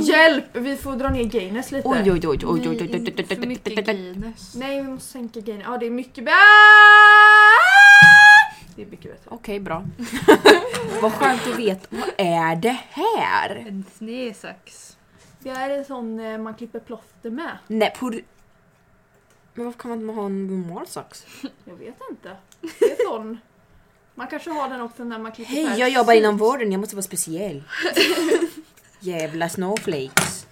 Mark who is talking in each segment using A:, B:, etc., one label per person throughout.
A: Hjälp! Vi får dra ner gaines lite.
B: Oj, oj, oj, oj, oj, oj, oj, oj, oj,
C: För
B: oj,
C: mycket
B: oj, oj.
C: Guinness.
A: Nej, vi måste sänka gainen. Ja, det är mycket bättre. Det är mycket bättre.
B: Okej, bra. Vad skönt att veta. Vad är det här?
C: En snesax.
A: Det här är en sån eh, man klipper plåster med.
B: Nej, på... Men varför kan man inte ha en normal sax?
A: Jag vet inte. Det är sån. Man kanske har den också när man klipper
B: Hej, jag
A: persisk.
B: jobbar inom vården. Jag måste vara speciell. Jävla snowflakes.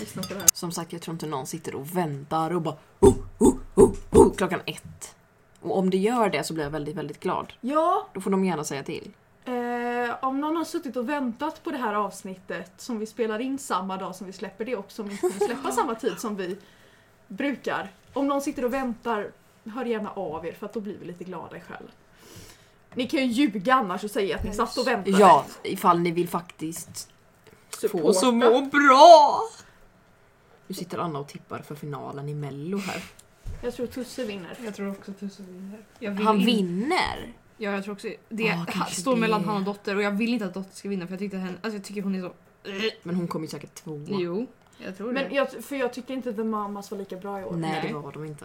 A: Lyssna på det här.
B: Som sagt, jag tror inte någon sitter och väntar och bara oh, oh, oh, oh, klockan ett. Och om det gör det så blir jag väldigt, väldigt glad.
A: Ja,
B: Då får de gärna säga till.
A: Eh, om någon har suttit och väntat på det här avsnittet som vi spelar in samma dag som vi släpper det och som inte kommer släppa samma tid som vi brukar. Om någon sitter och väntar, hör gärna av er för att då blir vi lite glada i själen. Ni kan ju ljuga annars och säga att ni satt och väntade.
B: Ja, ifall ni vill faktiskt få
A: Supporta.
B: oss att må bra. Nu sitter Anna och tippar för finalen i mello här.
A: Jag tror Tusse vinner.
C: Jag tror också tusen vinner. Jag vill
B: Han
C: inte-
B: vinner!
C: Ja, jag tror också det.
B: Ja,
C: ha,
B: kanske
C: står
B: det.
C: mellan han och Dotter och jag vill inte att Dotter ska vinna för jag, tyckte henne, alltså jag tycker hon är så...
B: Men hon kommer ju säkert tvåa.
C: Jo, jag tror det.
A: Men jag, för jag tycker inte The Mamas var lika bra i år.
B: Nej,
C: Nej.
B: det var de inte.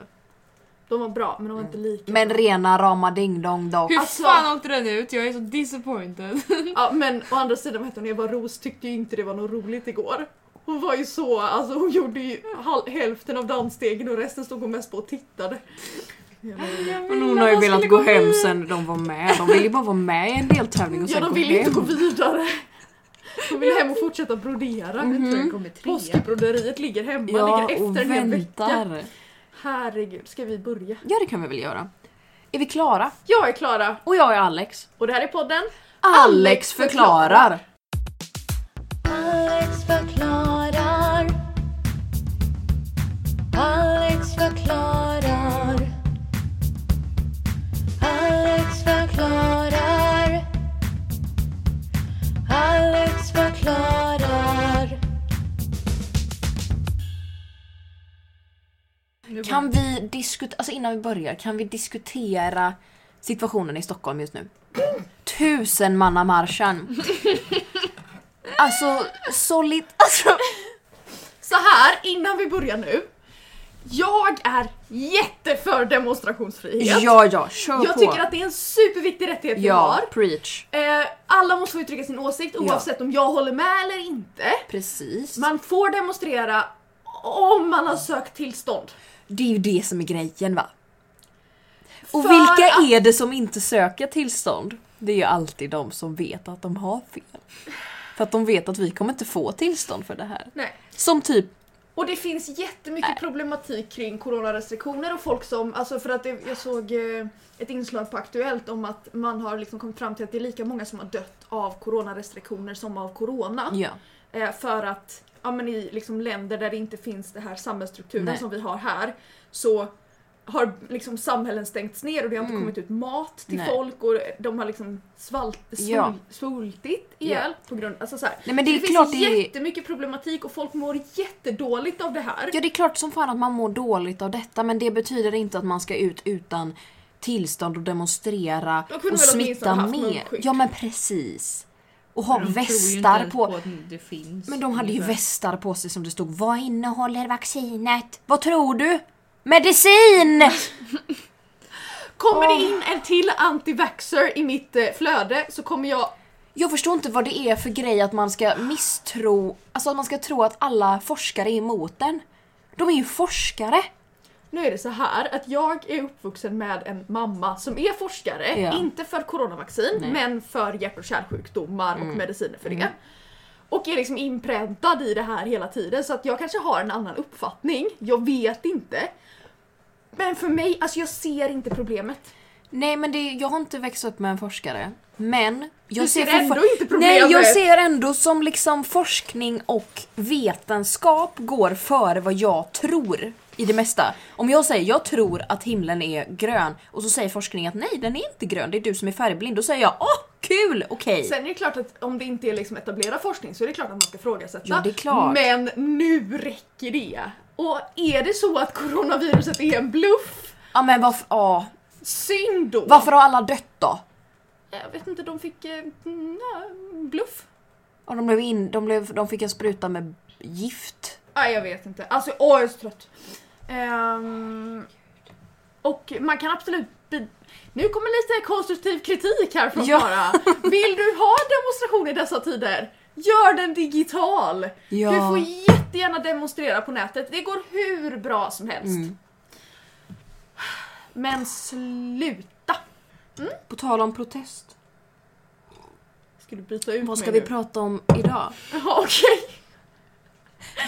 A: De var bra men de var inte lika
B: Men
A: bra.
B: rena rama ding dong dock.
C: Hur
A: Alltså-
C: fan åkte den ut? Jag är så disappointed.
A: Ja men å andra sidan vad heter hon, Eva Ros tyckte ju inte det var något roligt igår. Hon var ju så, alltså hon gjorde ju hal- hälften av dansstegen och resten stod hon mest på och tittade.
B: Men hon har ju velat gå hem sen de var med. De vill ju bara vara med i en deltävling och
A: Ja
B: sen
A: de
B: gå
A: ville ju inte
B: hem.
A: gå vidare. De ville hem och fortsätta brodera. Påskbroderiet ligger hemma,
B: Mm. Ja,
A: ligger
B: och
A: efter en hel vecka.
B: väntar.
A: Herregud, ska vi börja?
B: Ja, det kan vi väl göra. Är vi klara?
A: Jag är Klara
B: Och jag är Alex.
A: och det här är podden
B: Alex förklarar!
D: Alex förklarar. Alex förklarar. Alex förklarar. Alex förklarar.
B: Kan vi diskutera, alltså innan vi börjar, kan vi diskutera situationen i Stockholm just nu? Tusen manna marschen. Alltså, solid... Alltså,
A: Så här innan vi börjar nu. Jag är jätteför demonstrationsfrihet.
B: ja, ja, kör
A: Jag
B: på.
A: tycker att det är en superviktig rättighet vi har.
B: Ja, preach.
A: Eh, alla måste få uttrycka sin åsikt oavsett om jag håller med eller inte.
B: Precis.
A: Man får demonstrera om man har sökt tillstånd.
B: Det är ju det som är grejen va? Och
A: För
B: vilka
A: att-
B: är det som inte söker tillstånd? Det är ju alltid de som vet att de har fel. För att de vet att vi kommer inte få tillstånd för det här.
A: Nej.
B: Som typ,
A: Och det finns jättemycket problematik kring coronarestriktioner och folk som, alltså för att det, jag såg eh, ett inslag på Aktuellt om att man har liksom kommit fram till att det är lika många som har dött av coronarestriktioner som av corona.
B: ja.
A: Eh, för att ja, men i liksom länder där det inte finns den här samhällsstrukturen
B: Nej.
A: som vi har här så har liksom samhällen stängts ner och det har inte kommit ut mat till
B: Mm. Nej.
A: folk och de har liksom svalt, svul,
B: Ja.
A: svultit ihjäl. På grund, alltså så här.
B: Nej men det är
A: det
B: klart
A: finns
B: det är...
A: jättemycket problematik och folk mår jättedåligt av det här.
B: Ja det är klart som fan att man mår dåligt av detta men det betyder inte att man ska ut utan tillstånd och demonstrera
A: Då kunde
B: och
A: väl
B: smitta
A: åtminstone haft
B: mer.
A: munskydd.
B: Ja men precis. Och ha
C: De tror ju inte
B: västar
C: ens
B: på.
C: att det finns.
B: Men de hade ju
C: ungefär.
B: västar på sig som det stod Vad innehåller vaccinet? Vad tror du? Medicin!
A: Kommer det in en till anti-vaxxer i mitt eh, flöde så kommer jag...
B: Jag förstår inte vad det är för grej att man ska misstro, alltså att man ska tro att alla forskare är emot den. De är ju forskare!
A: Nu är det så här att jag är uppvuxen med en mamma som är forskare,
B: Ja.
A: inte för coronavaccin men för hjärt och kärlsjukdomar
B: Mm.
A: och mediciner för det. Och är liksom inpräntad i det här hela tiden så att jag kanske har en annan uppfattning, jag vet inte. Men för mig, alltså jag ser inte problemet.
B: Nej men det, jag har inte växt upp med en forskare. Men jag
A: Du ser
B: fortfar-
A: ändå inte problemet.
B: Nej jag ser ändå som liksom forskning och vetenskap går före vad jag tror i det mesta. Om jag säger jag tror att himlen är grön och så säger forskningen att nej den är inte grön, det är du som är färgblind. Då säger jag åh kul, okej.
A: Sen är det klart att om det inte är liksom etablerad forskning så är det klart att man ska ifrågasätta.
B: Ja, det är klart.
A: Men nu räcker det. Och är det så att coronaviruset är en bluff,
B: Ja men varför, ja.
A: synd då!
B: varför har alla dött då?
A: Jag vet inte, de fick eh, mm, ja, bluff.
B: Och de, blev in, de, blev, de fick en spruta med gift.
A: Nej jag vet inte. Alltså åh jag är så trött. Ehm, och man kan absolut... Bi- nu kommer lite konstruktiv kritik här från
B: Ja.
A: Sara. Vill du ha demonstration i dessa tider? Gör den digital!
B: Ja.
A: Du får jättegärna demonstrera på nätet. Det går hur bra som helst.
B: Mm.
A: Men sluta!
B: På tal om protest.
A: Ska du byta ut
B: Vad ska vi
A: mig
B: prata om idag?
A: nu? Jaha, Okej.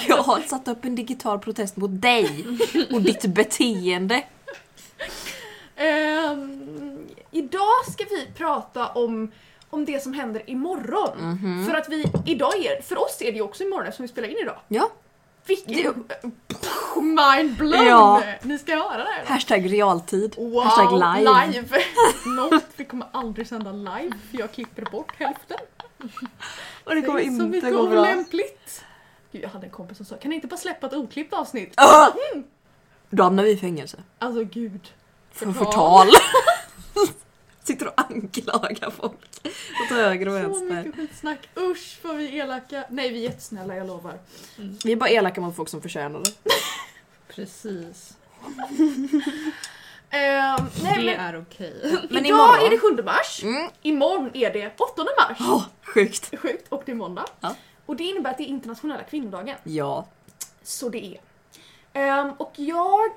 B: Jag har satt upp en digital protest mot dig och ditt beteende.
A: Ehm, idag ska vi prata om, om det som händer imorgon.
B: Mhm.
A: För att vi, idag är, för oss är det ju också imorgon eftersom vi spelar in idag.
B: Ja,
A: Vilken... Mind blown!
B: Ja.
A: Ni ska höra det här.
B: hashtag realtid.
A: Wow,
B: hashtag live.
A: Något, vi kommer aldrig sända live för jag klipper bort hälften.
B: Och det kommer
A: är så
B: inte
A: mycket
B: gå bra.
A: olämpligt. Gud, jag hade en kompis som sa kan ni inte bara släppa ett oklippt avsnitt?
B: Ah!
A: Mm.
B: Då hamnar vi i fängelse.
A: Alltså gud.
B: För
A: Förtal.
B: förtal. Sitter och anklagar folk. Och tar höger och
A: Så
B: vänster.
A: mycket skitsnack. Usch vad vi är elaka. Nej vi är jättesnälla, jag lovar. Ehm,
B: Vi är bara elaka mot folk som förtjänar det.
C: Precis.
A: Ehm, nej,
C: Det
A: men,
C: är okej.
B: Men
A: idag
B: imorgon-
A: är det 7 mars.
B: Mm.
A: Imorgon är det 8 mars.
B: Oh, sjukt.
A: Det är Sjukt, och det är måndag.
B: Ja.
A: Och det innebär att det är internationella kvinnodagen.
B: Ja.
A: Så det är. Ehm, och jag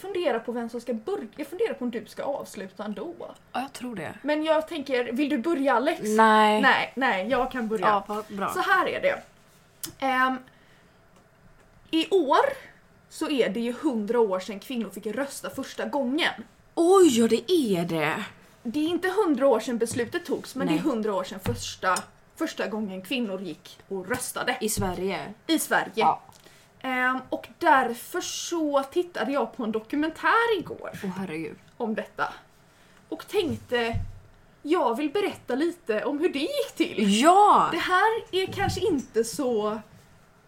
A: funderar på vem som ska börja. Jag funderar på om du ska avsluta ändå.
B: Ja, jag tror det.
A: Men jag tänker, vill du börja Alex?
B: Nej.
A: Nej, nej, jag kan börja.
B: Ja, vad bra.
A: Så här är det. Ehm, I år så är det ju 100 år sedan kvinnor fick rösta första gången.
B: Oj, ja det är det.
A: Det är inte 100 år sedan beslutet togs, men
B: Nej.
A: det är 100 år sedan första, första gången kvinnor gick och röstade
B: I Sverige.
A: i Sverige.
B: Ja.
A: Ehm, och därför så tittade jag på en dokumentär igår
B: Åh herregud.
A: om detta. Och tänkte, jag vill berätta lite om hur det gick till.
B: Ja!
A: Det här är kanske inte så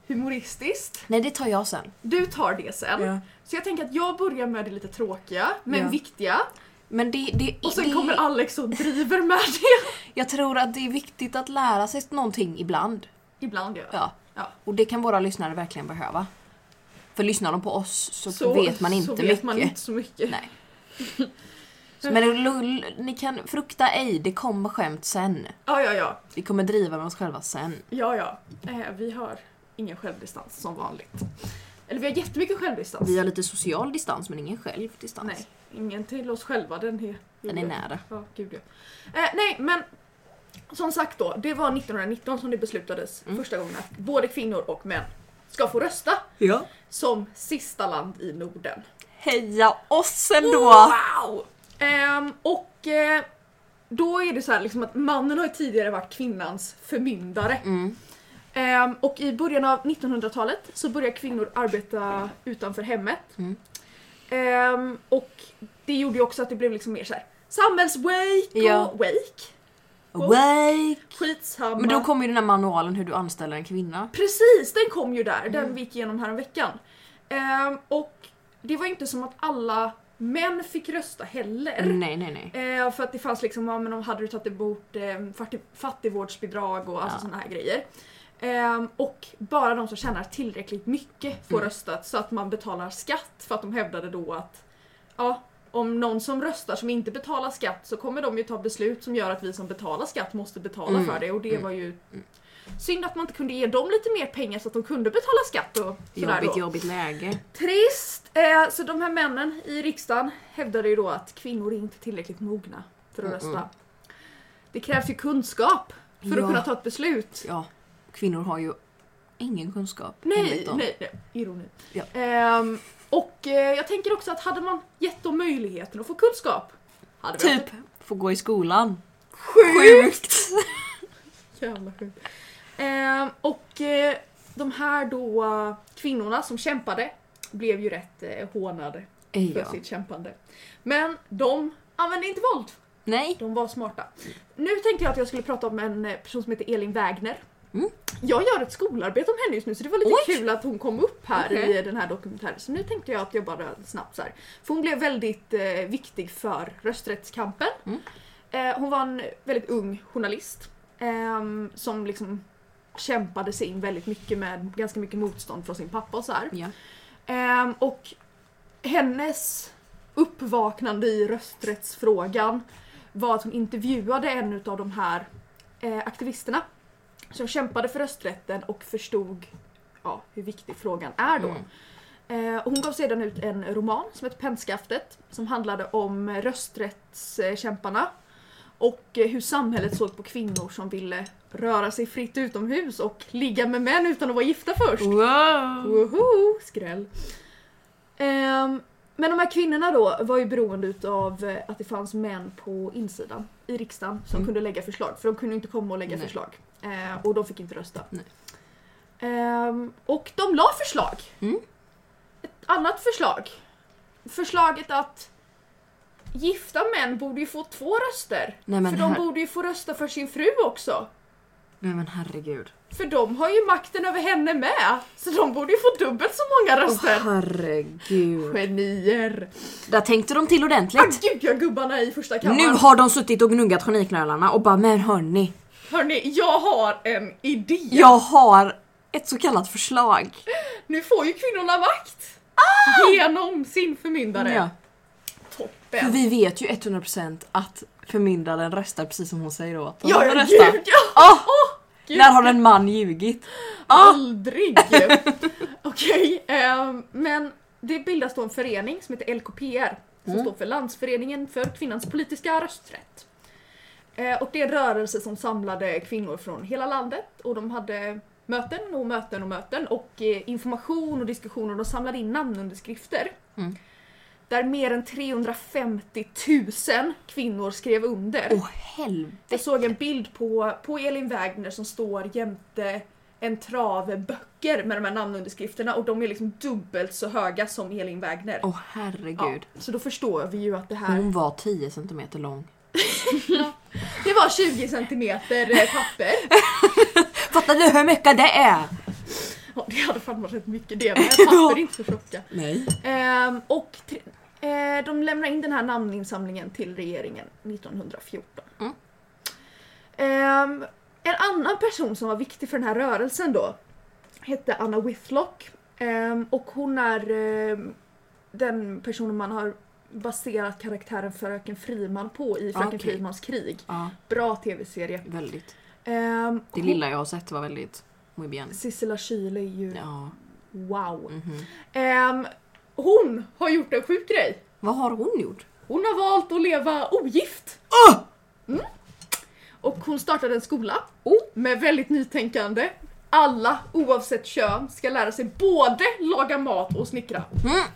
A: humoristiskt.
B: Nej, det tar jag sen.
A: Du tar det sen.
B: Ja.
A: Så jag tänker att jag börjar med det lite tråkiga, men
B: Ja.
A: viktiga.
B: Men det, det,
A: Och
B: det,
A: sen kommer Alex och driver med det.
B: jag tror att det är viktigt att lära sig någonting ibland.
A: Ibland gör jag.
B: Ja.
A: Ja.
B: Och det kan våra lyssnare verkligen behöva. För lyssnar de på oss så,
A: Så
B: vet man inte
A: så
B: mycket.
A: vet man inte så mycket.
B: Nej. Men lull, ni kan frukta ej, det kommer skämt sen.
A: Ja, ja, ja.
B: Vi kommer driva med oss själva sen.
A: Ja, ja. Eh, vi har ingen självdistans som vanligt. Eller vi har jättemycket självdistans.
B: Vi har lite social distans men ingen självdistans.
A: Nej, ingen till oss själva. Den är,
B: Den är nära.
A: Ja, gud ja. Eh, nej, men som sagt då, det var 1919 som det beslutades
B: Mm.
A: första gången att både kvinnor och män ska få rösta
B: Ja.
A: som sista land i Norden. Oh,
B: Heja oss ändå!
A: Wow! Ehm, och eh, då är det så här liksom att mannen har ju tidigare varit kvinnans förmyndare.
B: Mm.
A: Ehm, och i början av 1900-talet så började kvinnor arbeta utanför hemmet.
B: Mm.
A: Ehm, och det gjorde ju också att det blev liksom mer så här samhällswake
B: Ja.
A: och wake.
B: Awake!
A: Skitsamma.
B: Men då kommer ju den här manualen hur du anställer en kvinna.
A: Precis, den kom ju där.
B: Mm.
A: Den vi gick igenom häromveckan. Ehm, och det var ju inte som att alla män fick rösta heller.
B: Nej, nej, nej.
A: Eh, för att det fanns liksom, ja men om hade du tagit emot eh, fattig, fattigvårdsbidrag och alltså
B: Ja.
A: såna här grejer. Ehm, och bara de som tjänar tillräckligt mycket
B: Mm.
A: får röstat så att man betalar skatt för att de hävdade då att ja, om någon som röstar som inte betalar skatt så kommer de ju ta beslut som gör att vi som betalar skatt måste betala
B: Mm.
A: för det och det var ju synd att man inte kunde ge dem lite mer pengar så att de kunde betala skatt och sådär
B: Jobbigt,
A: då.
B: jobbigt läge.
A: Trist! Eh, så de här männen i riksdagen hävdade ju då att kvinnor är inte tillräckligt mogna för att
B: Mm-mm.
A: rösta. Det krävs ju kunskap för
B: Ja.
A: att kunna ta ett beslut.
B: Ja, kvinnor har ju ingen kunskap. enligt
A: Nej,
B: dem.
A: nej, nej, ironi.
B: Ja.
A: Ehm, och eh, jag tänker också att hade man gett dem möjligheten att få kunskap hade vi
B: Typ, får gå i skolan.
A: sjukt!
B: Sjukt!
A: Jävla sjukt. Ehm, och eh, de här då eh, kvinnorna som kämpade blev ju rätt eh, hånade för
B: Ja.
A: sitt kämpande. Men de använde inte våld.
B: Nej.
A: De var smarta. Nu tänkte jag att jag skulle prata om en eh, person som heter Elin Wägner.
B: Mm.
A: Jag gör ett skolarbete om henne just nu så det var lite
B: Oj!
A: kul att hon kom upp här
B: Okej.
A: i den här dokumentären. Så nu tänkte jag att jag bara snabbt så här. För hon blev väldigt eh, viktig för rösträttskampen.
B: Mm.
A: Eh, hon var en väldigt ung journalist. Ehm, som liksom kämpade sig in väldigt mycket med ganska mycket motstånd från sin pappa och så här.
B: Ja.
A: Ehm, och hennes uppvaknande i rösträttsfrågan var att hon intervjuade en av de här eh, aktivisterna som kämpade för rösträtten och förstod ja, hur viktig frågan är då.
B: Mm.
A: Eh, och hon gav sedan ut en roman som heter Pennskaftet som handlade om eh, rösträttskämparna och eh, hur samhället såg på kvinnor som ville röra sig fritt utomhus och ligga med män utan att vara gifta först.
C: Wow!
A: Woho, skräll. Ehm, men de här kvinnorna då var ju beroende utav eh, att det fanns män på insidan i riksdagen som
B: Mm.
A: kunde lägga förslag. För de kunde inte komma och lägga
B: Nej.
A: förslag. Eh, och de fick inte rösta.
B: Nej.
A: Ehm, och de la förslag.
B: Mm.
A: Ett annat förslag. Förslaget att gifta män borde ju få två röster.
B: Nej, men
A: för de
B: här-
A: borde ju få rösta för sin fru också.
B: Nej men herregud.
A: För de har ju makten över henne med. Så de borde ju få dubbelt så många
B: Åh
A: röster.
B: herregud.
A: Genier!
B: Där tänkte de till
A: Ah,
B: ordentligt.
A: gud, jag gubbarna i första kammaren.
B: Nu har de suttit och gnuggat geniknölarna och bara men hörni,
A: Hörni, jag har en idé!
B: jag har ett så kallat förslag.
A: Nu får ju kvinnorna makt! Genom sin förmyndare.
B: Ah! Ja. För
A: Toppen!
B: vi vet ju 100% att förmyndaren röstar precis som hon säger åt
A: Ja,
B: honom
A: ja,
B: att rösta.
A: gud ja!
B: Ah,
A: Gud.
B: när har en man ljugit? Ah,
A: Aldrig! Okej, ehm, men det bildas då en förening som heter LKPR som
B: Mm.
A: står för Landsföreningen för kvinnans politiska rösträtt. Eh, och det är en rörelse som samlade kvinnor från hela landet och de hade möten och möten och möten och eh, information och diskussioner. De samlade in namnunderskrifter.
B: Mm.
A: Där mer än 350 000 kvinnor skrev under.
B: åh helvete.
A: Jag såg en bild på, på Elin Wägner som står jämte en trave böcker med de här namnunderskrifterna och de är liksom dubbelt så höga som Elin Wägner.
B: Åh Mm. herregud.
A: Ja, så då förstår vi ju att det här...
B: Hon var 10 cm lång.
A: Det var 20 centimeter eh, papper.
B: Fattar du hur mycket det är?
A: Ja, det hade fan varit rätt mycket det men papper är inte så tjocka.
B: Nej.
A: Ehm, och tre, eh, de lämnar in den här namninsamlingen till regeringen 1914.
B: Mm.
A: Ehm, en annan person som var viktig för den här rörelsen då hette Anna Whitlock Ehm, och hon är ehm, den personen man har baserat karaktären Fröken Friman på i Fröken
B: Ah, Okej.
A: Frimans krig.
B: Ja,
A: Bra tv-serie.
B: väldigt.
A: Ehm,
B: Det
A: hon-
B: lilla jag har sett var väldigt muy bien.
A: Sissela Kyle är ju
B: Ja.
A: wow.
B: mhm.
A: Ehm, hon har gjort en sjuk grej.
B: Vad har hon gjort?
A: Hon har valt att leva ogift.
B: Åh!
A: Mm. Och hon startade en skola
B: Oh.
A: med väldigt nytänkande. Alla oavsett kön ska lära sig både laga mat och snickra.
B: Mm.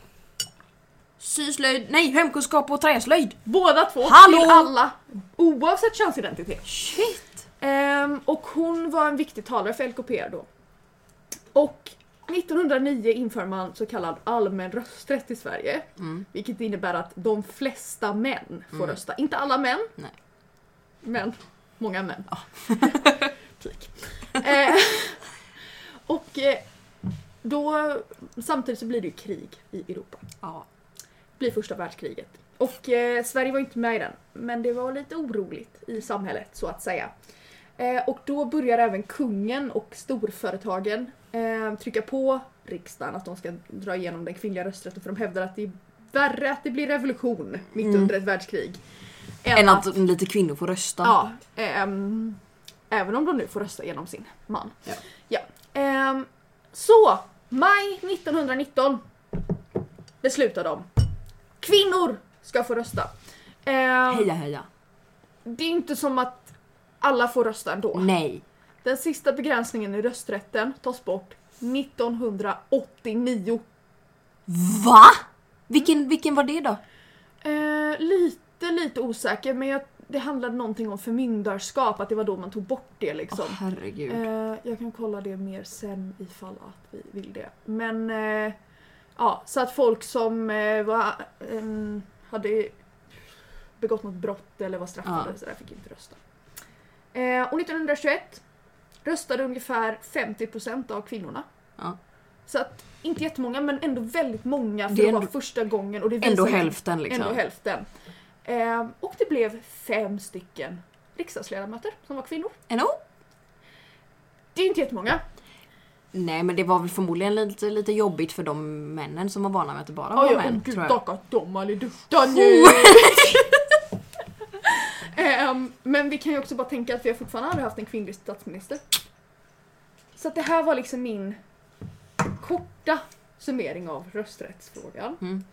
B: Syslöjd, nej hemkunskap och träslöjd.
A: Båda två
B: Hallå!
A: till alla oavsett könsidentitet.
B: Shit.
A: Ehm, och hon var en viktig talare för LKP då. Och 1909 inför man så kallad allmän rösträtt i Sverige.
B: Mm.
A: Vilket innebär att de flesta män får
B: Mm.
A: rösta. Inte alla män.
B: Nej.
A: Men många män.
B: Typ.
A: Pik. Eh, och eh, då samtidigt så blir det ju krig i Europa.
B: Ja.
A: Det blir första världskriget. Och eh, Sverige var inte med i den. Men det var lite oroligt i samhället så att säga. Eh, och då börjar även kungen och storföretagen eh, trycka på riksdagen att de ska dra igenom den kvinnliga rösträtten för de hävdar att det är värre att det blir revolution mitt
B: Mm.
A: under ett världskrig.
B: Än att lite kvinnor får rösta.
A: Ja, ehm, även om de nu får rösta genom sin man.
B: Ja.
A: Ja. ehm, så, maj 1919 beslutar de. Kvinnor ska få rösta. Ehm,
B: Heja heja.
A: det är inte som att alla får rösta ändå.
B: Nej.
A: Den sista begränsningen i rösträtten tas bort 1989.
B: Va? Vilken, vilken var det då?
A: Eh, lite, lite osäker men jag, det handlade någonting om förmyndarskap, att det var då man tog bort det
B: Åh
A: liksom.
B: herregud.
A: Eh, jag kan kolla det mer sen ifall att vi vill det. Men eh, ja, så att folk som eh, var, ehm, hade begått något brott eller var straffade
B: Ja.
A: så där fick inte rösta. Eh, och 1921 röstade ungefär 50% av kvinnorna.
B: Ja.
A: Så att inte jättemånga men ändå väldigt många för
B: Det är
A: det var
B: ändå-
A: första gången. Och det
B: Ändå liksom.
A: visar-
B: hälften liksom.
A: Ehm, Ändå hälften. Eh, och det blev fem stycken riksdagsledamöter som var kvinnor.
B: NO?
A: Det är inte jättemånga.
B: Nej men det var väl förmodligen lite, lite jobbigt för de männen som var vana med att det bara var
A: Oj,
B: män.
A: oh, gud,
B: tror jag.
A: tacka dem allihopa nu! Ehm, men vi kan ju också bara tänka att vi har fortfarande aldrig haft en kvinnlig statsminister. Så att det här var liksom min korta summering av rösträttsfrågan.
B: Mm.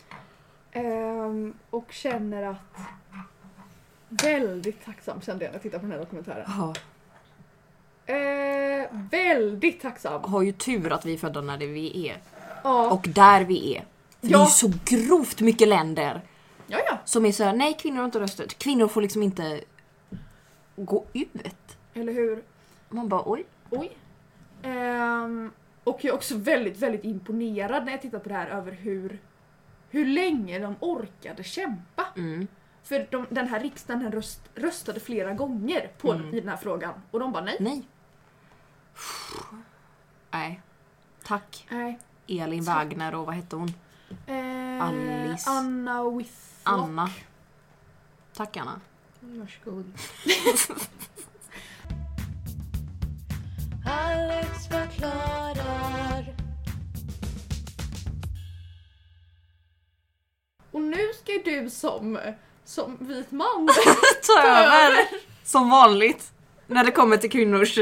A: Ehm, och känner att... Väldigt tacksam kände jag när jag tittade på den här dokumentären.
B: Ja,
A: Ehm, väldigt tacksam.
B: har ju tur att vi är födda när det vi är.
A: Ja,
B: Och där vi är. För det är
A: Ja.
B: ju så grovt mycket länder
A: ja, ja.
B: som är såhär, nej kvinnor har inte rösträtt. Kvinnor får liksom inte gå ut.
A: Eller hur?
B: Man bara oj.
A: Oj. Ehm, och jag är också väldigt, väldigt imponerad när jag tittar på det här över hur, hur länge de orkade kämpa.
B: Mm.
A: För de, den här riksdagen den röst, röstade flera gånger på,
B: Mm.
A: i den här frågan och de bara nej.
B: Nej. Nej. Tack
A: nej.
B: Elin
A: Tack.
B: Wagner och vad hette hon?
A: Eh,
B: Alice.
A: Anna With.
B: Anna. Tack Anna.
C: Varsågod.
D: Alex förklarar.
A: Och nu ska ju du som, som vit man
B: Ta
A: över.
B: Som vanligt. När det kommer till kvinnors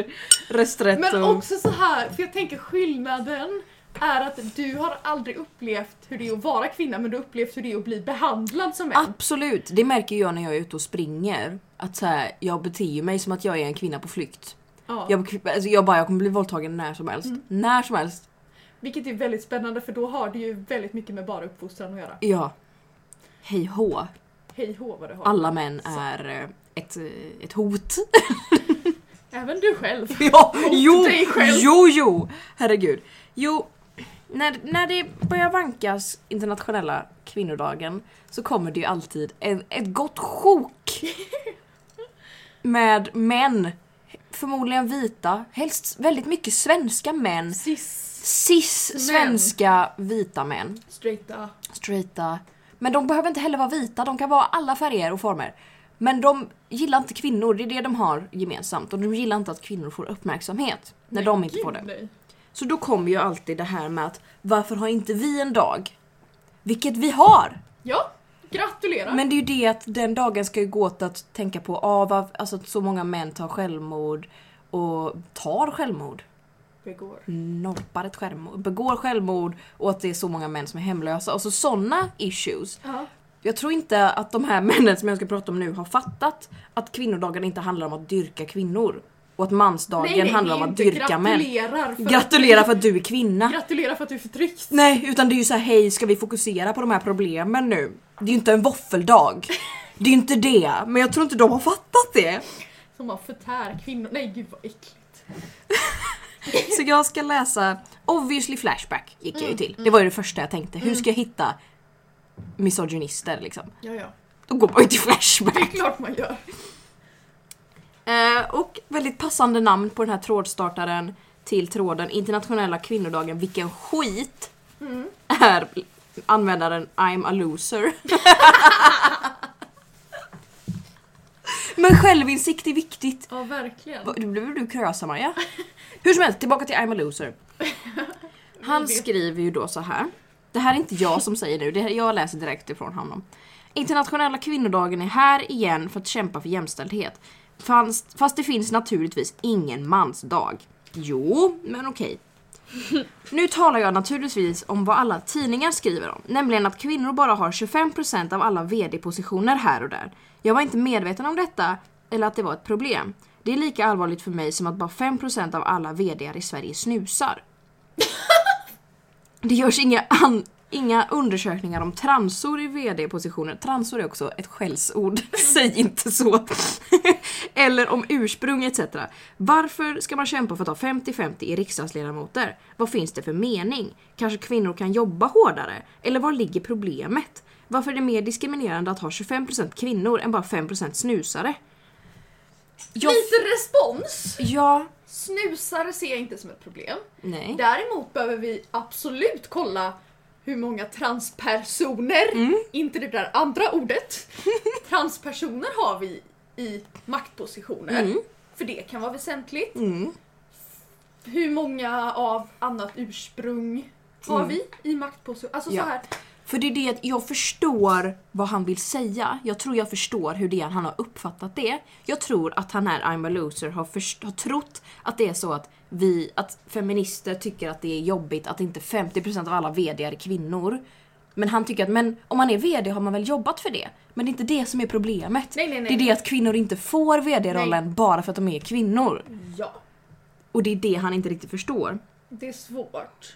B: rösträtt
A: Men
B: och...
A: också så här, för jag tänker skillnaden är att du har aldrig upplevt hur det är att vara kvinna men du har upplevt hur det är att bli behandlad som
B: Ah,
A: en.
B: Absolut, det märker jag när jag är ute och springer. Att så här, jag beter mig som att jag är en kvinna på flykt.
A: Ja. Mm.
B: Jag, alltså jag bara, jag kommer bli våldtagen när som helst. När som helst.
A: Vilket är väldigt spännande för då har det ju väldigt mycket med bara uppfostran att göra.
B: Ja. Hej hå.
A: Hej hå vad du har.
B: Alla män är eh, ett, eh, ett hot.
A: Även du själv.
B: ja, jo,
A: dig själv.
B: jo, jo, herregud. Jo, när, när det börjar vankas internationella kvinnodagen så kommer det ju alltid en, ett gott sjok med män, förmodligen vita, helst väldigt mycket svenska män.
A: Cis,
B: Cis svenska vita män.
A: straighta.
B: Straighta. Men de behöver inte heller vara vita, de kan vara alla färger och former. Men de gillar inte kvinnor, det är det de har gemensamt. Och de gillar inte att kvinnor får uppmärksamhet när de inte får det.
A: Nej.
B: Så då kommer ju alltid det här med att varför har inte vi en dag? Vilket vi har!
A: Ja, gratulerar.
B: Men det är ju det att den dagen ska ju gå åt att tänka på ah, var, alltså att så många män tar självmord och tar självmord,
A: Begår.
B: norpar ett självmord, begår självmord och att det är så många män som är hemlösa. Alltså sådana issues.
A: Ja.
B: Jag tror inte att de här männen som jag ska prata om nu har fattat att kvinnodagen inte handlar om att dyrka kvinnor och att mansdagen
A: Nej, nej,
B: handlar
A: det
B: om
A: är
B: att
A: inte
B: dyrka män.
A: gratulerar För
B: Gratulerar för att du är kvinna!
A: Gratulerar för att du förtrycks.
B: Nej, utan det är ju så här, hej ska vi fokusera på de här problemen nu? Det är ju inte en våffeldag. Det är ju inte det, men jag tror inte de har fattat det.
A: Som har förtär kvinnor. Nej gud vad äckligt.
B: Så jag ska läsa, obviously Flashback gick jag ju till. Det var ju det första jag tänkte,
A: Mm.
B: hur ska jag hitta misogynister liksom?
A: Ja, ja.
B: Då går man ju till
A: Det
B: Flashback.
A: är klart man gör.
B: Eh, och väldigt passande namn på den här trådstartaren till tråden Internationella kvinnodagen, vilken skit! Är användaren I'm a loser. Men självinsikt är viktigt.
A: Ja, verkligen.
B: Va- Nu blev du krösa Maja. Hur som helst, tillbaka till I'm a loser. Han skriver ju då så här. Det här är inte jag som säger nu, det här, jag läser direkt ifrån honom. Internationella kvinnodagen är här igen för att kämpa för jämställdhet. Fast, fast det finns naturligtvis ingen mansdag. Jo, men okej. Nu talar jag naturligtvis om vad alla tidningar skriver om, nämligen att kvinnor bara har 25% av alla VD-positioner här och där. Jag var inte medveten om detta eller att det var ett problem. Det är lika allvarligt för mig som att bara 5% av alla VDar i Sverige snusar. Det görs inga, an- inga undersökningar om transor i VD-positioner. Transor är också ett skällsord, säg inte så. Eller om ursprung etc. Varför ska man kämpa för att ha 50-50 i riksdagsledamöter? Vad finns det för mening? Kanske kvinnor kan jobba hårdare? Eller var ligger problemet? Varför är det mer diskriminerande att ha 25% kvinnor än bara 5% snusare? Jag...
A: Lite respons.
B: Ja.
A: Snusare ser jag inte som ett problem.
B: Nej.
A: Däremot behöver vi absolut kolla hur många
B: Mm.
A: transpersoner, inte det där andra ordet, transpersoner har vi i maktpositioner.
B: Mm.
A: För det kan vara väsentligt.
B: Mm.
A: Hur många av annat ursprung har
B: Mm.
A: vi i maktpositioner? Alltså
B: Ja.
A: så här.
B: För det är det att jag förstår vad han vill säga. Jag tror jag förstår hur det är han har uppfattat det. Jag tror att han här I'm a loser har, först- har trott att det är så att vi, att feminister tycker att det är jobbigt att inte 50% av alla VD är kvinnor. Men han tycker att men om man är VD har man väl jobbat för det? Men det är inte det som är problemet.
A: Nej, nej, nej.
B: Det är det att kvinnor inte får VD-rollen bara för att de är kvinnor.
A: Ja,
B: Och det är det han inte riktigt förstår.
A: det är svårt.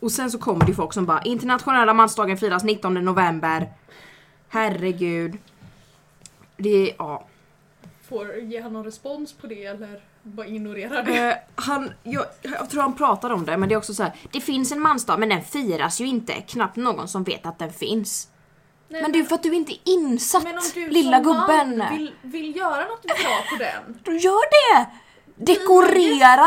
B: Och sen så kommer det folk som bara internationella mansdagen firas 19 november. Herregud. Det är, ja.
A: Får ge han någon respons på det eller bara ignorera det?
B: Eh, han, jag, jag tror han pratar om det men det är också så här. Det finns en mansdag men den firas ju inte. Knappt någon som vet att den finns.
A: Nej,
B: men det är för att du inte är insatt
A: men om du
B: lilla
A: som man
B: gubben.
A: Vill, vill göra något bra på den.
B: Då gör det! Dekorera!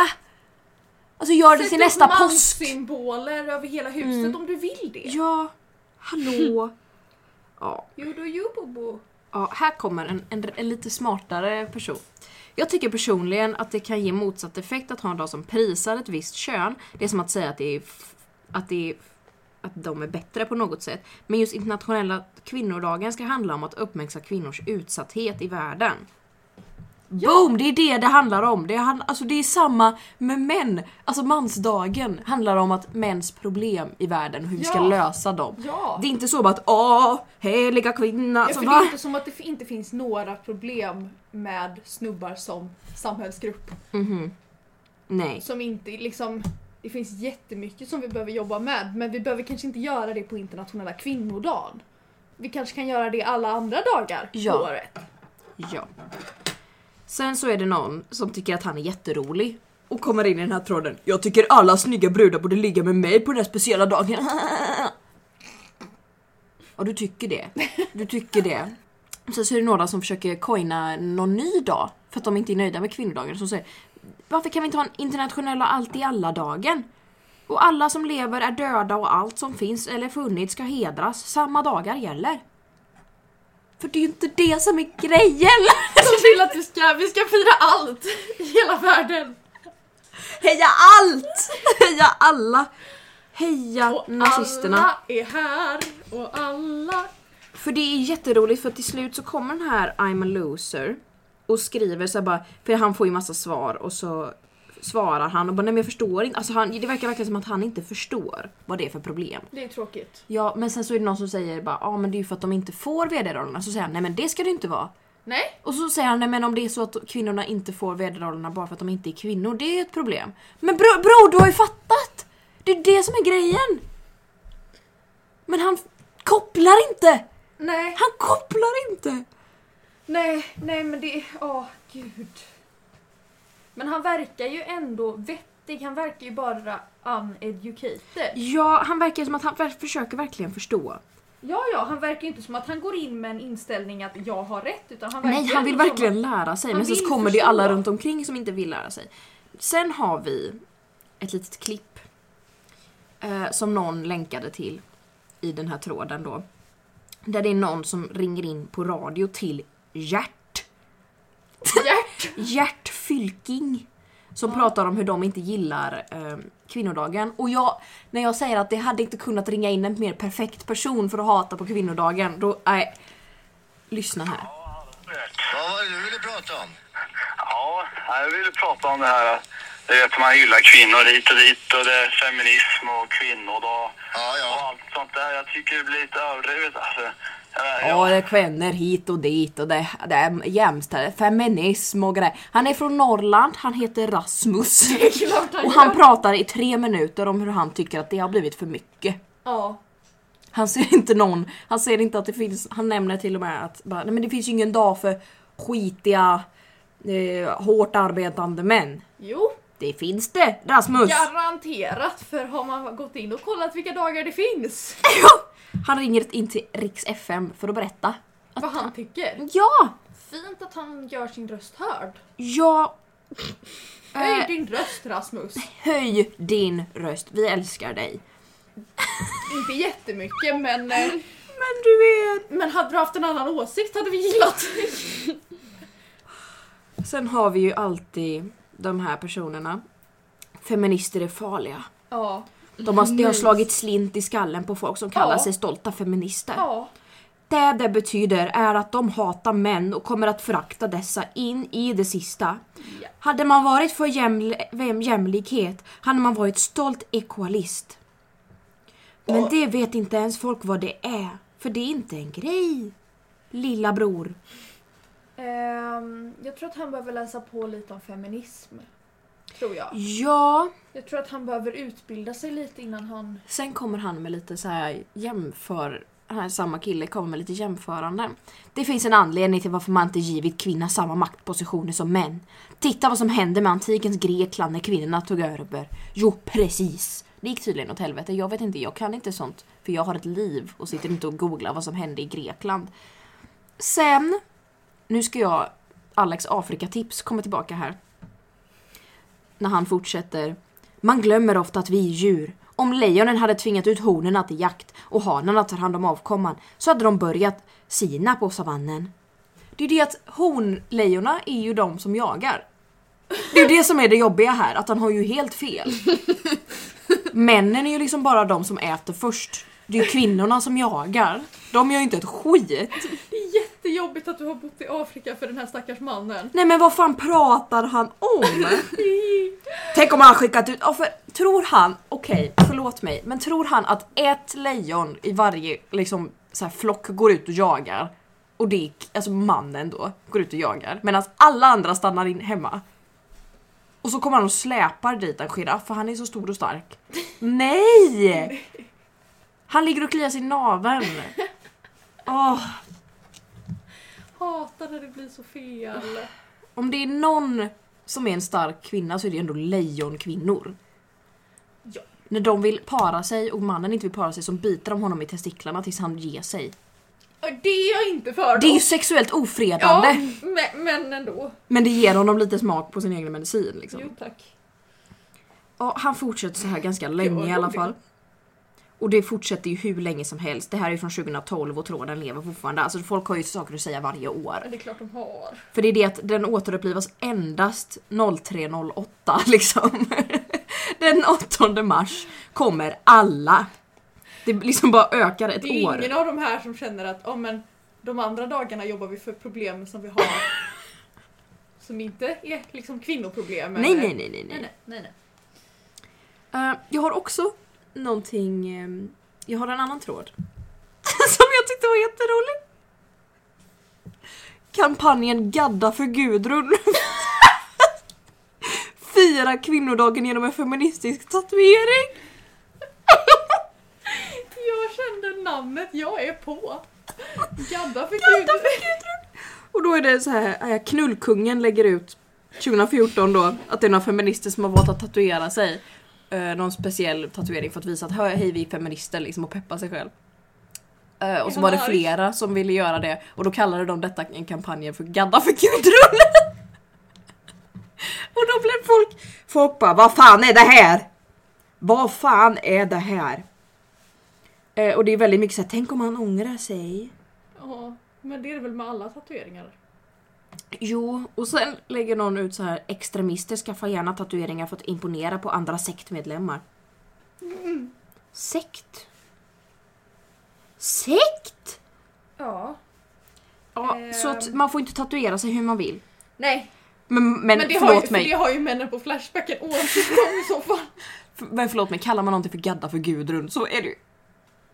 B: Alltså gör det till nästa
A: upp
B: påsk. Mm.
A: symboler över hela huset om du vill det.
B: Ja, hallå. ja.
A: Judo jubobo.
B: Ja, här kommer en, en, en lite smartare person. Jag tycker personligen att det kan ge motsatt effekt att ha en dag som prisar ett visst kön. Det är som att säga att, det är, f- att, det är, att de är bättre på något sätt. Men just internationella kvinnodagen ska handla om att uppmärksamma kvinnors utsatthet i världen. Boom! Det är det det handlar om. Det är, han- alltså det är samma med män. Alltså mansdagen handlar om att mäns problem i världen, hur vi ska
A: Ja.
B: lösa dem.
A: Ja.
B: Det är inte så bara att åh, heliga kvinna.
A: Ja,
B: Alltså,
A: för det
B: va?
A: är inte som att det f- inte finns några problem med snubbar som samhällsgrupp.
B: Mhm. Nej.
A: Som inte liksom, det finns jättemycket som vi behöver jobba med men vi behöver kanske inte göra det på internationella kvinnodagen. Vi kanske kan göra det alla andra dagar
B: Ja.
A: på året.
B: Ja. Sen så är det någon som tycker att han är jätterolig och kommer in i den här tråden. Jag tycker alla snygga brudar borde ligga med mig på den här speciella dagen. Ja, du tycker det. Du tycker det. Sen så är det några som försöker coina någon ny dag för att de inte är nöjda med kvinnodagen. Som säger varför kan vi inte ha en internationella allt i alla-dagen? Och alla som lever är döda och allt som finns eller funnits ska hedras. Samma dagar gäller. För det är ju inte det som är grejen!
A: De vill att vi ska, vi ska fira allt i hela världen.
B: Heja allt! Heja alla! Heja
A: Och
B: nazisterna!
A: alla är här och alla...
B: För det är jätteroligt för till slut så kommer den här I'm a loser och skriver så här bara, för han får ju massa svar och så svarar han och bara nej men jag förstår inte, alltså han, det verkar verkligen som att han inte förstår vad det är för problem.
A: Det är tråkigt.
B: Ja men sen så är det någon som säger bara ja ah, men det är ju för att de inte får vd-rollerna så säger han nej men det ska det inte vara.
A: Nej,
B: Och så säger han nej men om det är så att kvinnorna inte får vd-rollerna bara för att de inte är kvinnor, det är ett problem. Men bro, bror, du har ju fattat! Det är det som är grejen! Men han f- kopplar inte!
A: nej,
B: Han kopplar inte!
A: nej, nej men det... Åh, gud. Men han verkar ju ändå vettig, han verkar ju bara uneducated.
B: Ja, han verkar som att han ver- försöker verkligen förstå.
A: Ja, ja, han verkar ju inte som att han går in med en inställning att jag har rätt utan han verkar
B: Nej, han vill
A: ändå som
B: verkligen lära sig
A: Han
B: men sen så
A: vill
B: kommer det ju
A: förstå.
B: alla runt omkring som inte vill lära sig. Sen har vi ett litet klipp eh, som någon länkade till i den här tråden då. Där det är någon som ringer in på radio till Gert,
A: att- Hjärt!
B: Gert Fylking. Som pratar om hur de inte gillar eh, kvinnodagen. Och jag, när jag säger att det hade inte kunnat ringa in en mer perfekt person för att hata på kvinnodagen, då... Nej. Lyssna här.
E: Vad var det du ville prata om?
F: Ja, jag ville prata om det här. Det är att man hyllar kvinnor hit och dit och det är feminism och kvinnodag
E: Ja, ja.
F: och allt sånt där. Jag tycker det blir lite överdrivet alltså. Jag-
B: Ja, det är kvinnor hit och dit och det, det är jämställdhet, feminism och grejer. Han är från Norrland, han heter Rasmus.
A: Klart han
B: Och han
A: gör.
B: pratar i tre minuter om hur han tycker att det har blivit för mycket.
A: Ja.
B: Han ser inte någon, han ser inte att det finns, han nämner till och med att bara, nej men det finns ju ingen dag för skitiga, eh, hårt arbetande män.
A: Jo,
B: Det finns det, Rasmus!
A: garanterat för har man gått in och kollat vilka dagar det finns.
B: Han ringer in till Riks FM för att berätta.
A: Vad han tycker.
B: Ja!
A: Fint att han gör sin röst hörd.
B: Ja! Eh.
A: Höj din röst Rasmus.
B: Höj din röst, vi älskar dig.
A: Inte jättemycket men eh,
B: Men du vet!
A: Men hade du haft en annan åsikt hade vi gillat
B: Sen har vi ju alltid de här personerna. Feminister är farliga.
A: Ja.
B: De har, det har slagit slint i skallen på folk som kallar
A: Ja.
B: sig stolta feminister.
A: Ja.
B: Det det betyder är att de hatar män och kommer att förakta dessa in i det sista. Hade man varit för jäml- vem- jämlikhet hade man varit stolt ekoalist. Men det vet inte ens folk vad det är, för det är inte en grej. Lilla bror.
A: Ehm, jag tror att han behöver läsa på lite om feminism. Tror jag.
B: Ja,
A: Jag tror att han behöver utbilda sig lite innan han...
B: sen kommer han med lite så här jämför... Den här samma kille kommer med lite jämförande. Det finns en anledning till varför man inte givit kvinnor samma maktpositioner som män. Titta vad som hände med antikens Grekland när kvinnorna tog över. Jo, precis. Det gick tydligen åt helvete. Jag vet inte, jag kan inte sånt. För jag har ett liv och sitter inte och googlar vad som hände i Grekland. Sen, nu ska jag, Alex Afrikatips kommer tillbaka här. När han fortsätter. Man glömmer ofta att vi är djur. Om lejonen hade tvingat ut honorna till jakt och hanarna tar hand om avkomman så hade de börjat sina på savannen. Det är det att honlejorna är ju de som jagar. Det är det som är det jobbiga här, att han har ju helt fel. Männen är ju liksom bara de som äter först. Det är ju kvinnorna som jagar. De gör ju inte ett skit.
A: Det är jättejobbigt att du har bott i Afrika för den här stackars mannen.
B: Nej men vad fan pratar han om? Tänk om han skickat ut... Ja, för, tror han, okej förlåt mig, men tror han att ett lejon i varje liksom, så här, flock går ut och jagar och det är alltså mannen då går ut och jagar medan alla andra stannar in hemma. Och så kommer han och släpar dit en giraff för han är så stor och stark. Nej! Han ligger och kliar sig i naveln. Åh.
A: Hatar när det blir så fel.
B: Om det är någon som är en stark kvinna så är det ändå lejonkvinnor.
A: Ja.
B: När de vill para sig och mannen inte vill para sig så biter de honom i testiklarna tills han ger sig.
A: Och Det är jag inte för
B: Det är
A: då.
B: ju sexuellt ofredande!
A: Ja, men, men ändå.
B: Men det ger honom lite smak på sin egen medicin. Liksom.
A: Jo tack.
B: Ja, han fortsätter så här ganska länge
A: vad
B: i alla
A: roligt.
B: fall. Och det fortsätter ju hur länge som helst. Det här är ju från 2012 och tråden lever fortfarande. Alltså folk har ju saker att säga varje år.
A: Men det är klart de har.
B: För det är det att den återupplivas endast 0308 liksom. Den 8 mars kommer alla. Det liksom bara ökar ett
A: Det är
B: år.
A: ingen av de här som känner att oh, men, de andra dagarna jobbar vi för problem som vi har. som inte är liksom kvinnoproblem.
B: Nej,
A: eller-
B: nej, nej, nej. nej.
A: Nej, nej, nej, nej.
B: Eh, jag har också någonting... ehm, jag har en annan tråd. som jag tyckte var jätterolig. Kampanjen Gadda för Gudrun. Fira kvinnodagen genom en feministisk tatuering.
A: Jag kände namnet, jag är på. Gadda för gud.
B: Och då är det så här, eh, knullkungen lägger ut 2014 då att det är några feminister som har valt att tatuera sig. Eh, någon speciell tatuering för att visa att hö- hej vi är feminister liksom och peppa sig själv. Eh, och så
A: han
B: var det
A: arg?
B: flera som ville göra det och då kallade de detta en kampanj för gadda för Gudrun. och då blev folk, folk bara vad fan är det här? Vad fan är det här? Eh, och det är väldigt mycket så här, tänk om han ångrar sig.
A: Ja, men det är det väl med alla tatueringar?
B: Jo, och sen lägger någon ut så här extremister skaffar gärna tatueringar för att imponera på andra sektmedlemmar. Sekt? Sekt?
A: Ja.
B: Ja,
A: Ehm.
B: så att man får inte tatuera sig hur man vill.
A: Nej,
B: Men, men,
A: men det har, ju,
B: förlåt
A: för
B: mig,
A: det har ju männen på Flashbacken oavsett om i så fall.
B: F- men förlåt mig, kallar man någonting för gadda för Gudrun så är det ju...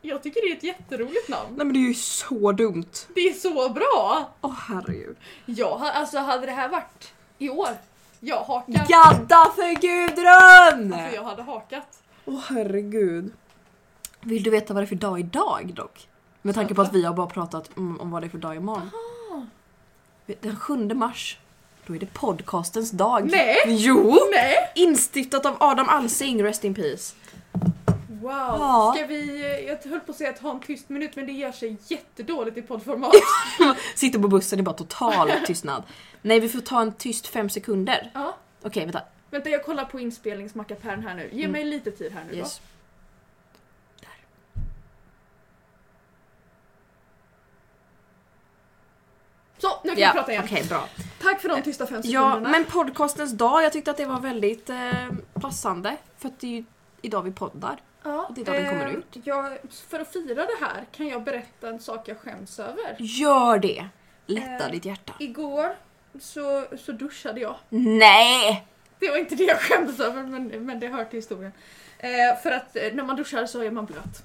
A: Jag tycker det är ett jätteroligt namn.
B: Nej men det är ju så dumt.
A: Det är så bra!
B: Åh herregud.
A: Ja, ha- alltså hade det här varit i år, jag hakar.
B: Gadda för Gudrun!
A: Alltså jag hade hakat.
B: Åh herregud. Vill du veta vad det är för dag idag dock? Med tanke på att vi har bara pratat om, om vad det är för dag imorgon. Den 7 mars, då är det podcastens dag.
A: Nej.
B: Jo!
A: Nej!
B: Instiftat av Adam Alsing, rest in peace.
A: Wow!
B: Ja.
A: Ska vi, eh, jag höll på att säga att ha en tyst minut men det gör sig jättedåligt i poddformat.
B: Sitter på bussen i bara total tystnad. Nej, vi får ta en tyst fem sekunder.
A: ja.
B: Okej, vänta.
A: Vänta jag kollar på inspelningsmackapären här nu. Ge mig lite tid här nu då.
B: Yes.
A: Så, nu kan
B: Ja,
A: vi prata igen.
B: Okej, bra.
A: Tack för de tysta fem
B: Ja,
A: sekunderna.
B: men podcastens dag, jag tyckte att det var väldigt eh, passande. För att det är ju idag vi poddar.
A: Ja,
B: Och det är då den kommer
A: eh,
B: ut.
A: Jag, för att fira det här kan jag berätta en sak jag skäms över.
B: Gör det! Lätta
A: Eh.
B: ditt hjärta.
A: Igår så, så duschade jag.
B: Nej!
A: Det var inte det jag skämdes över men, men det hör till historien. Eh, för att eh, när man duschar så är man blöt.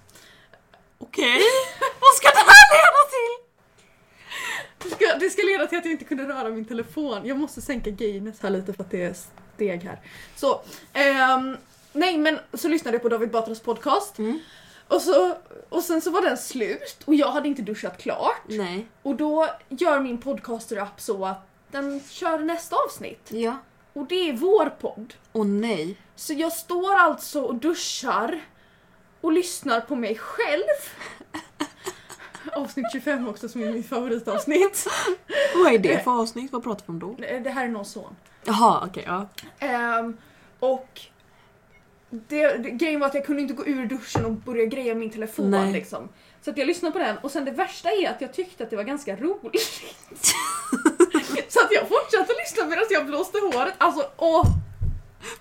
B: Okej. Vad ska det här leda till?
A: Det ska, det ska leda till att jag inte kunde röra min telefon. Jag måste sänka gainet här lite för att det är steg här. Så, ehm, nej men så lyssnade jag på David Batras podcast.
B: Mm.
A: Och, så, och sen så var den slut och jag hade inte duschat klart.
B: Nej.
A: Och då gör min podcaster-app så att den kör nästa avsnitt.
B: Ja.
A: Och det är vår podd.
B: Och nej.
A: Så jag står alltså och duschar och lyssnar på mig själv. Avsnitt 25 också som är mitt favoritavsnitt.
B: Vad är det för avsnitt? Vad pratar vi om då?
A: Det här är någons son.
B: Eh. Jaha, okej. ja.
A: Ehm, och det, det, grejen var att jag kunde inte gå ur duschen och börja greja min telefon
B: Nej.
A: liksom. Så att jag lyssnade på den och sen det värsta är att jag tyckte att det var ganska roligt. så att jag fortsatte lyssna medan jag blåste håret. Alltså åh,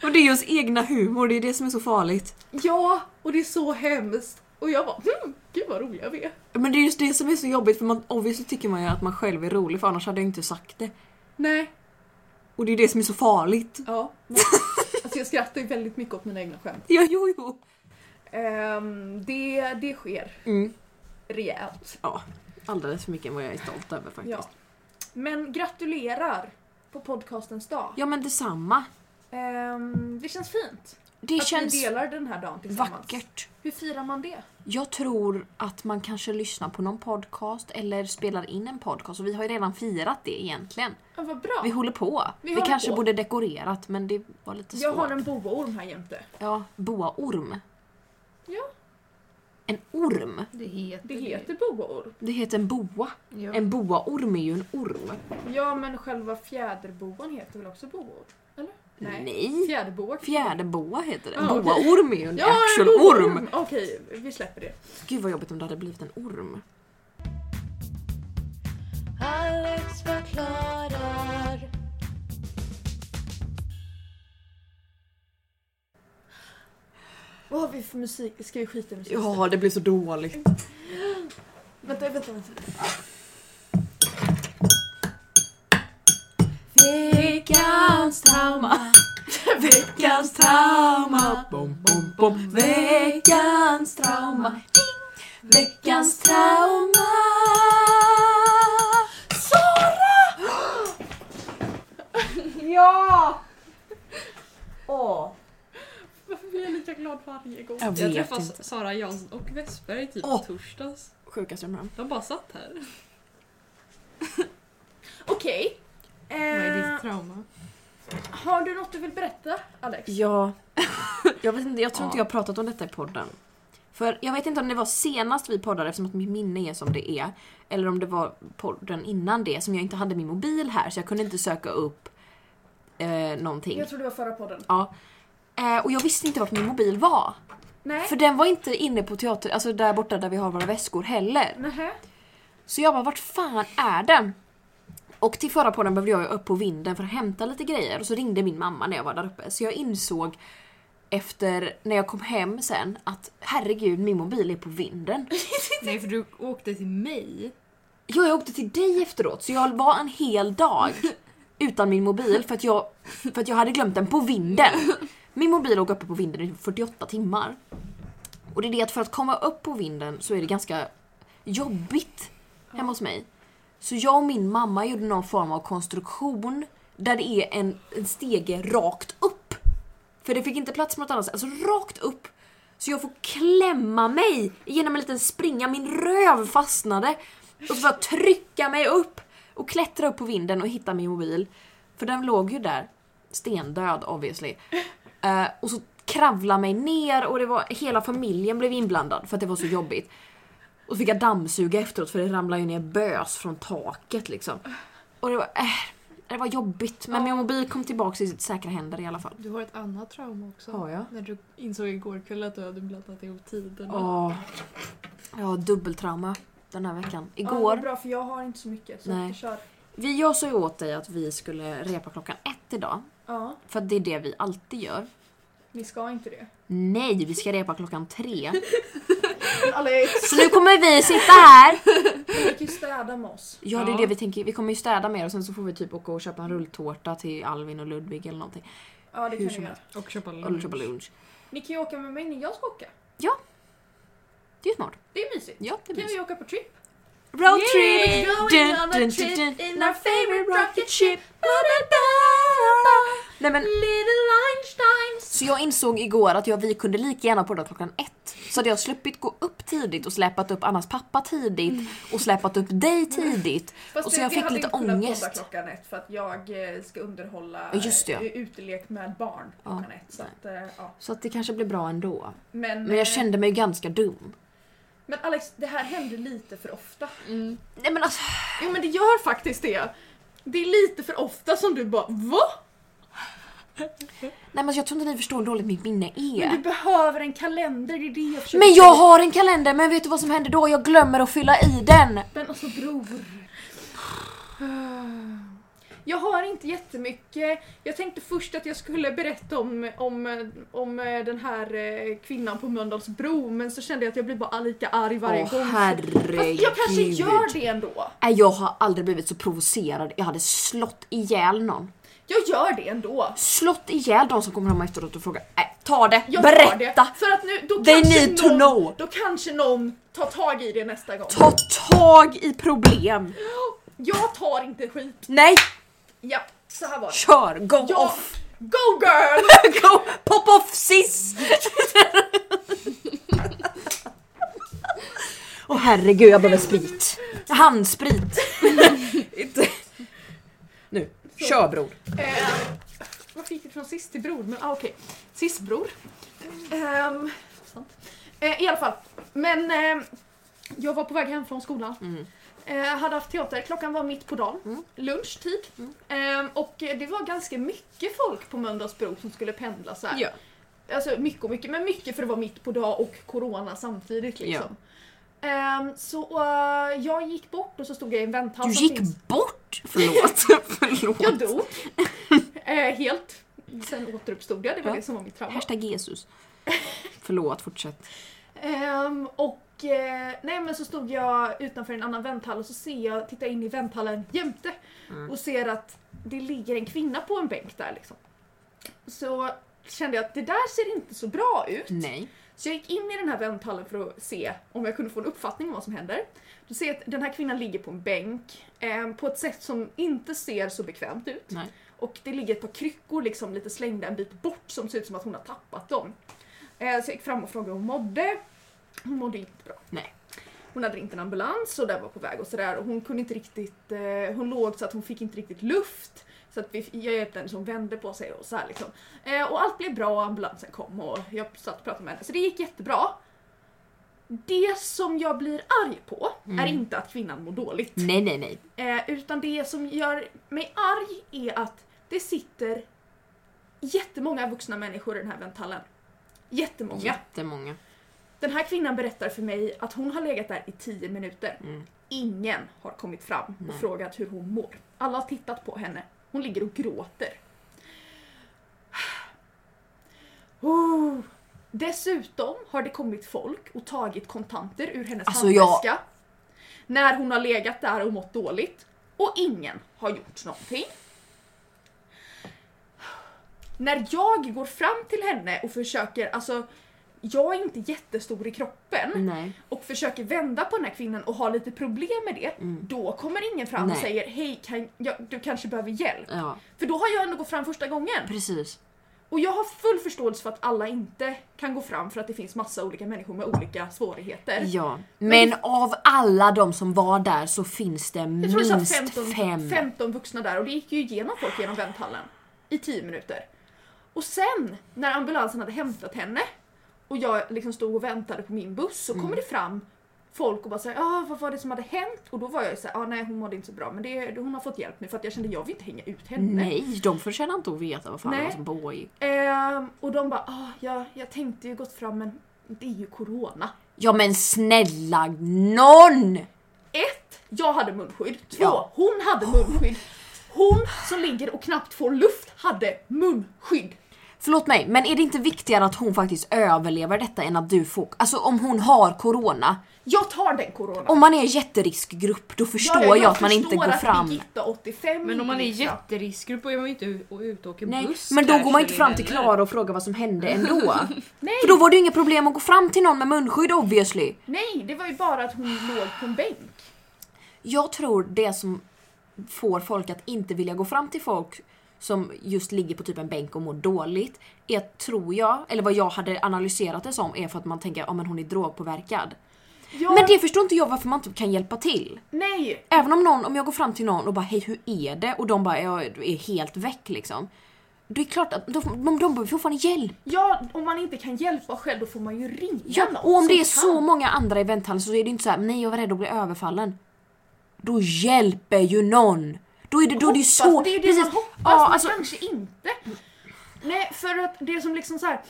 B: Och det är just egna humor, det är det som är så farligt.
A: ja! Och det är så hemskt. Och jag bara hmm, gud vad roliga vi är.
B: Men det är just det som är så jobbigt för man, obviously tycker man ju att man själv är rolig för annars hade jag inte sagt det.
A: Nej,
B: Och det är det som är så farligt.
A: ja. Men, alltså jag skrattar ju väldigt mycket åt mina egna skämt.
B: Ja, jo, jo.
A: Ehm, det, det sker
B: Mm.
A: rejält.
B: Alldeles för mycket än vad jag är stolt över faktiskt.
A: Ja.
B: Ja,
A: Men gratulerar på podcastens dag.
B: men detsamma.
A: Ehm, det känns fint.
B: Det
A: att vi
B: känns
A: delar den här dagen tillsammans.
B: vackert.
A: Hur firar man det?
B: Jag tror att man kanske lyssnar på någon podcast eller spelar in en podcast och vi har ju redan firat det egentligen.
A: Ja, vad bra.
B: Vi håller på.
A: Vi
B: Vi,
A: håller
B: kanske
A: på.
B: borde dekorerat men det var lite
A: jag
B: svårt.
A: har en boaorm här jämte.
B: Ja, boaorm.
A: Ja.
B: En orm.
C: Det heter
A: Det heter boaorm.
B: Det heter en boa.
C: Ja.
B: En boaorm är ju en orm.
A: Ja, men själva fjäderboan heter väl också boaorm? Eller?
B: Nej.
A: Fjäderboa.
B: Fjärdeboa heter det. En
A: Ja, okej.
B: boaorm är ju en
A: Ja, en
B: actual
A: boaorm!
B: orm.
A: Okej, vi släpper det.
B: Gud vad jobbigt om det hade blivit en orm.
D: Alex förklarar.
A: Vad har vi för musik? Ska vi skita i musik?
B: Ja, det blir så dåligt.
A: Vänta, vänta, vänta.
B: Veckans trauma. Veckans trauma. Bom, bom, bom. Veckans trauma. Ding. Veckans trauma. Sara! ja! Åh.
A: Varför blir jag lika glad varje gång?
B: Jag
C: Jag
B: vet
C: träffade
B: inte.
C: Sara Jansson och Westberg typ
B: Åh.
C: torsdags.
B: Sjukaste jag varit med om.
C: De bara satt
A: Eh.
C: här.
A: Okej.
C: Vad är
A: Eh,
C: ditt trauma?
A: har du något du vill berätta, Alex?
B: Ja. jag, vet inte, jag tror inte jag har pratat om detta i podden. För jag vet inte om det var senast vi poddade eftersom att mitt minne är som det är. Eller om det var podden innan det som jag inte hade min mobil här så jag kunde inte söka upp eh, någonting.
A: Jag tror det var förra podden.
B: Ja. Eh, och jag visste inte vart min mobil var.
A: Nej.
B: För den var inte inne på teater, alltså där borta där vi har våra väskor heller.
A: Nähä.
B: Så jag bara, vart fan är den? Och till förra podden behövde jag ju upp på vinden för att hämta lite grejer och så ringde min mamma när jag var där uppe. Så jag insåg efter, när jag kom hem sen, att herregud min mobil är på vinden.
C: Nej för du åkte till mig.
B: Jo, jag åkte till dig efteråt så jag var en hel dag utan min mobil för att jag, för att jag hade glömt den på vinden. Min mobil låg uppe på vinden i 48 timmar. Och det är det att för att komma upp på vinden så är det ganska jobbigt hemma hos mig. Så jag och min mamma gjorde någon form av konstruktion där det är en, en stege rakt upp. För det fick inte plats på något annat sätt. Alltså rakt upp. Så jag får klämma mig genom en liten springa. Min röv fastnade. Och så får jag trycka mig upp och klättra upp på vinden och hitta min mobil. För den låg ju där. Stendöd obviously. Eh, och så kravla mig ner och det var, hela familjen blev inblandad för att det var så jobbigt. Och så fick jag dammsuga efteråt för det ramlade ju ner bös från taket liksom. Och det var, eh, det var jobbigt men min mobil kom tillbaka i sitt säkra händer i alla fall.
C: Du har ett annat trauma också.
B: Har jag?
C: När du insåg igår kväll att du hade blandat ihop tiderna.
B: Åh. Jag har dubbeltrauma den här veckan.
A: Ja, det är
B: Igår,
A: bra för jag har inte så mycket. Så
B: Nej.
A: Nej. Kör.
B: Vi, jag sa ju åt dig att vi skulle repa klockan ett idag.
A: Ja,
B: För att det är det vi alltid gör.
A: ni ska inte det.
B: Nej, vi ska repa klockan tre.
A: Alla jag
B: Så nu kommer vi sitta här.
A: kan ju städa med oss.
B: Ja, det är
C: Ja.
B: det vi tänker. Vi kommer ju städa mer och sen så får vi typ åka och köpa en rulltårta till Alvin och Ludvig eller någonting.
A: Ja, det
B: Hur
A: kan
B: som
A: ni göra.
C: Och köpa
B: Eller köpa lunch.
A: Ni kan ju åka med mig när jag ska åka.
B: Det är ju smart.
A: Det är mysigt.
B: Ja, det blir
A: Kan
B: så.
A: vi åka på trip?
B: Road
A: We're
B: trip! Dun,
A: going on a
B: dun,
A: trip
B: dun, dun.
A: in our favorite rocket ship.
B: Nej men,
A: Little Einsteins.
B: så jag insåg igår att jag, vi kunde lika gärna podda klockan ett. Så hade jag sluppit gå upp tidigt och släpat upp Annas pappa tidigt och släpat upp dig tidigt.
A: Fast
B: Och så
A: det-
B: jag
A: vi
B: fick
A: hade
B: lite
A: inte kunnat
B: ångest.
A: podda klockan ett för att jag eh, ska underhålla
B: Ja, just det, ja.
A: eh, utelek med barn klockan ett. Så att, eh, ja.
B: Så att det kanske blir bra ändå.
A: men,
B: Men jag
A: eh,
B: kände mig ju ganska dum.
A: men Alex, det här händer lite för ofta.
C: Mm.
B: Nej men alltså,
A: Jo men det gör faktiskt det. Det är lite för ofta som du bara VA?
B: nej, men alltså, jag tror inte ni förstår hur dåligt mitt minne är.
A: Men du behöver en kalender, det är det jag försöker
B: Men jag har en kalender, men vet du vad som händer då? Jag glömmer att fylla i den!
A: Men alltså bror. Jag har inte jättemycket. Jag tänkte först att jag skulle berätta om, om, om den här eh, kvinnan på Mölndalsbro men så kände jag att jag blir bara lika arg varje gång. Fast
B: herregud.
A: jag kanske gör det ändå.
B: Nej, jag har aldrig blivit så provocerad. Jag hade slått ihjäl någon.
A: Jag gör det ändå.
B: Slått ihjäl de som kommer fram efteråt och frågar. Nej, ta det!
A: Jag tar
B: Berätta!
A: det. För att nu, då
B: They
A: kanske
B: need to
A: någon,
B: know.
A: Då kanske någon tar tag i det nästa gång.
B: Ta tag i problem!
A: Jag tar inte skit.
B: Nej,
A: Ja, så här var det.
B: kör! Go
A: Jag,
B: off!
A: go girl!
B: Go, pop off sis! Åh herregud, jag behöver sprit. Handsprit. Inte- nu, kör bror.
A: Eh, vad fick vi från sist till bror? Men ah, okej, sistbror. Ehm, eh, I alla fall, men ehm, jag var på väg hem från skolan.
B: Mm.
A: Eh, hade haft teater, klockan var mitt på dagen,
B: Mm.
A: lunchtid. Ehm, och eh, det var ganska mycket folk på Mölndalsbro som skulle pendla så här.
B: Ja.
A: Alltså mycket och mycket, men mycket för det var mitt på dag och corona samtidigt liksom. Ehm, så eh, jag gick bort och så stod jag i en vänthall
B: Du
A: som
B: gick
A: finns-
B: bort. Förlåt.
A: jag
B: Förlåt.
A: dog. Eh, helt. Sen återuppstod jag, det var
B: Ja.
A: det som var mitt trauma.
B: Hashtag Jesus. Förlåt, fortsätt.
A: Ehm, och eh, nej men så stod jag utanför en annan vänthall och så ser jag, tittar in i vänthallen jämte och ser att det ligger en kvinna på en bänk där liksom. Så kände jag att det där ser inte så bra ut.
B: Nej.
A: Så jag gick in i den här vänthallen för att se om jag kunde få en uppfattning om vad som händer. Då ser jag att den här kvinnan ligger på en bänk eh, på ett sätt som inte ser så bekvämt ut.
B: Nej.
A: Och det ligger ett par kryckor liksom lite slängda en bit bort som ser ut som att hon har tappat dem. Eh, så jag gick fram och frågade hur hon mådde. Hon mådde inte bra.
B: Nej.
A: Hon hade ringt en ambulans och den var på väg och sådär och hon kunde inte riktigt, eh, hon låg så att hon fick inte riktigt luft. Så att vi, jag hjälpte henne så hon vände på sig och så här liksom. Eh, och allt blev bra och ambulansen kom och jag satt och pratade med henne. Så det gick jättebra. Det som jag blir arg på
B: Mm.
A: är inte att kvinnan mår dåligt.
B: Nej, nej, nej.
A: Eh, utan det som gör mig arg är att det sitter jättemånga vuxna människor i den här vänthallen. Jättemånga.
B: Jättemånga.
A: Den här kvinnan berättar för mig att hon har legat där i 10 minuter.
B: Mm.
A: Ingen har kommit fram och frågat hur hon mår. Alla har tittat på henne. Hon ligger och gråter. Oh. Dessutom har det kommit folk och tagit kontanter ur hennes
B: Alltså,
A: handväska. När hon har legat där och mått dåligt. Och ingen har gjort någonting. När jag går fram till henne och försöker, alltså jag är inte jättestor i kroppen
B: Nej.
A: och försöker vända på den här kvinnan och har lite problem med det, då kommer ingen fram
B: Mm. Nej.
A: och säger hej, kan jag, du kanske behöver hjälp.
B: Ja,
A: För då har jag ändå gått fram första gången.
B: precis.
A: Och jag har full förståelse för att alla inte kan gå fram för att det finns massa olika människor med olika svårigheter.
B: Ja. Men av alla de som var där så finns det
A: Jag tror det satt
B: minst
A: 15,
B: fem.
A: 15 vuxna där och det gick ju igenom folk genom vänthallen i 10 minuter. Och sen när ambulansen hade hämtat henne och jag liksom stod och väntade på min buss så
B: Mm.
A: kommer det fram folk och bara säger ah, vad var det som hade hänt? Och då var jag ju såhär, ah, nej hon mådde inte så bra men det, hon har fått hjälp nu för att jag kände jag vill inte hänga ut henne.
B: Nej, de förtjänar inte att veta vad fan
A: Nej.
B: det var som pågick.
A: Ehm, och de bara, ah, jag, jag tänkte ju gått fram men det är ju corona.
B: Ja men snälla någon!
A: Ett, Jag hade munskydd. Två,
B: Ja.
A: hon hade munskydd. Hon som ligger och knappt får luft hade munskydd.
B: Förlåt mig, men är det inte viktigare att hon faktiskt överlever detta än att du får... Alltså om hon har corona.
A: Jag tar den corona.
B: Om man är i jätteriskgrupp då
A: Ja,
B: förstår
A: ja,
B: jag att man inte
A: förstår
B: går
A: att
B: fram.
A: Birgitta 85
C: Men om man är i
A: inte gick fram.
C: jätteriskgrupp och är man ju inte ut- och ute och åker
B: Nej,
C: buss.
B: men då
C: kanske
B: går man inte
C: med
B: fram till
C: vänner.
B: Klara och frågar vad som hände ändå. För då var det ju inga problem att gå fram till någon med munskydd obviously.
A: Nej, det var ju bara att hon låg på en bänk.
B: Jag tror det som får folk att inte vilja gå fram till folk som just ligger på typ en bänk och mår dåligt är, tror jag, eller vad jag hade analyserat det som, är för att man tänker att men hon är drogpåverkad.
A: Ja,
B: Men det förstår inte jag varför man inte kan hjälpa till.
A: Nej,
B: Även om någon, om jag går fram till någon och bara hej hur är det? Och de bara jag är helt väck liksom. Det är klart att de, de, de behöver fortfarande hjälp.
A: ja, om man inte kan hjälpa själv då får man ju ringa
B: Ja,
A: någon
B: och om
A: som
B: det är
A: kan.
B: så många andra i vänthallen så är det inte så här, nej jag var rädd att bli överfallen. Då hjälper ju någon! Då är det, då är det ju
A: Hoppas,
B: så...
A: det är ju det man hoppas,
B: ja,
A: men
B: alltså,
A: kanske inte. Nej, för att det som liksom så här.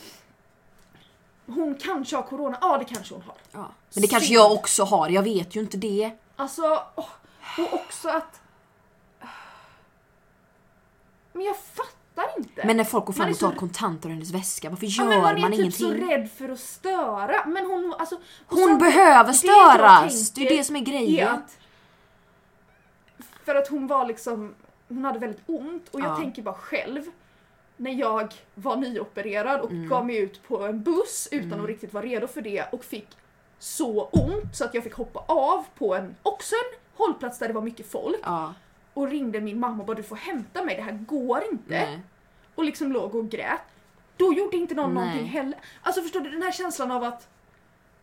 A: Hon kanske har corona, ja det kanske hon har.
B: ja. Men det kanske
A: Synd.
B: jag också har, jag vet ju inte det.
A: Alltså, åh, och också att... Men jag fattar inte.
B: Men när folk går fram
A: Man är
B: och tar
A: så-
B: kontanter ur hennes väska, varför
A: Ja,
B: gör
A: men
B: man,
A: man är typ
B: ingenting?
A: så rädd för att störa. Men hon, alltså, och
B: Hon
A: samtidigt-
B: behöver
A: det jag
B: störas! Det är
A: tänker
B: det som är grejen.
A: att- för att hon var liksom, hon hade väldigt ont och jag
B: Ja.
A: tänker bara själv när jag var nyopererad och
B: Mm.
A: gav mig ut på en buss utan att riktigt vara redo för det och fick så ont så att jag fick hoppa av på en, också en hållplats där det var mycket folk
B: Ja,
A: och ringde min mamma och bara du får hämta mig, det här går inte
B: nej.
A: och liksom låg och grät. Då gjorde inte någon
B: Nej.
A: någonting heller. Alltså förstår du den här känslan av att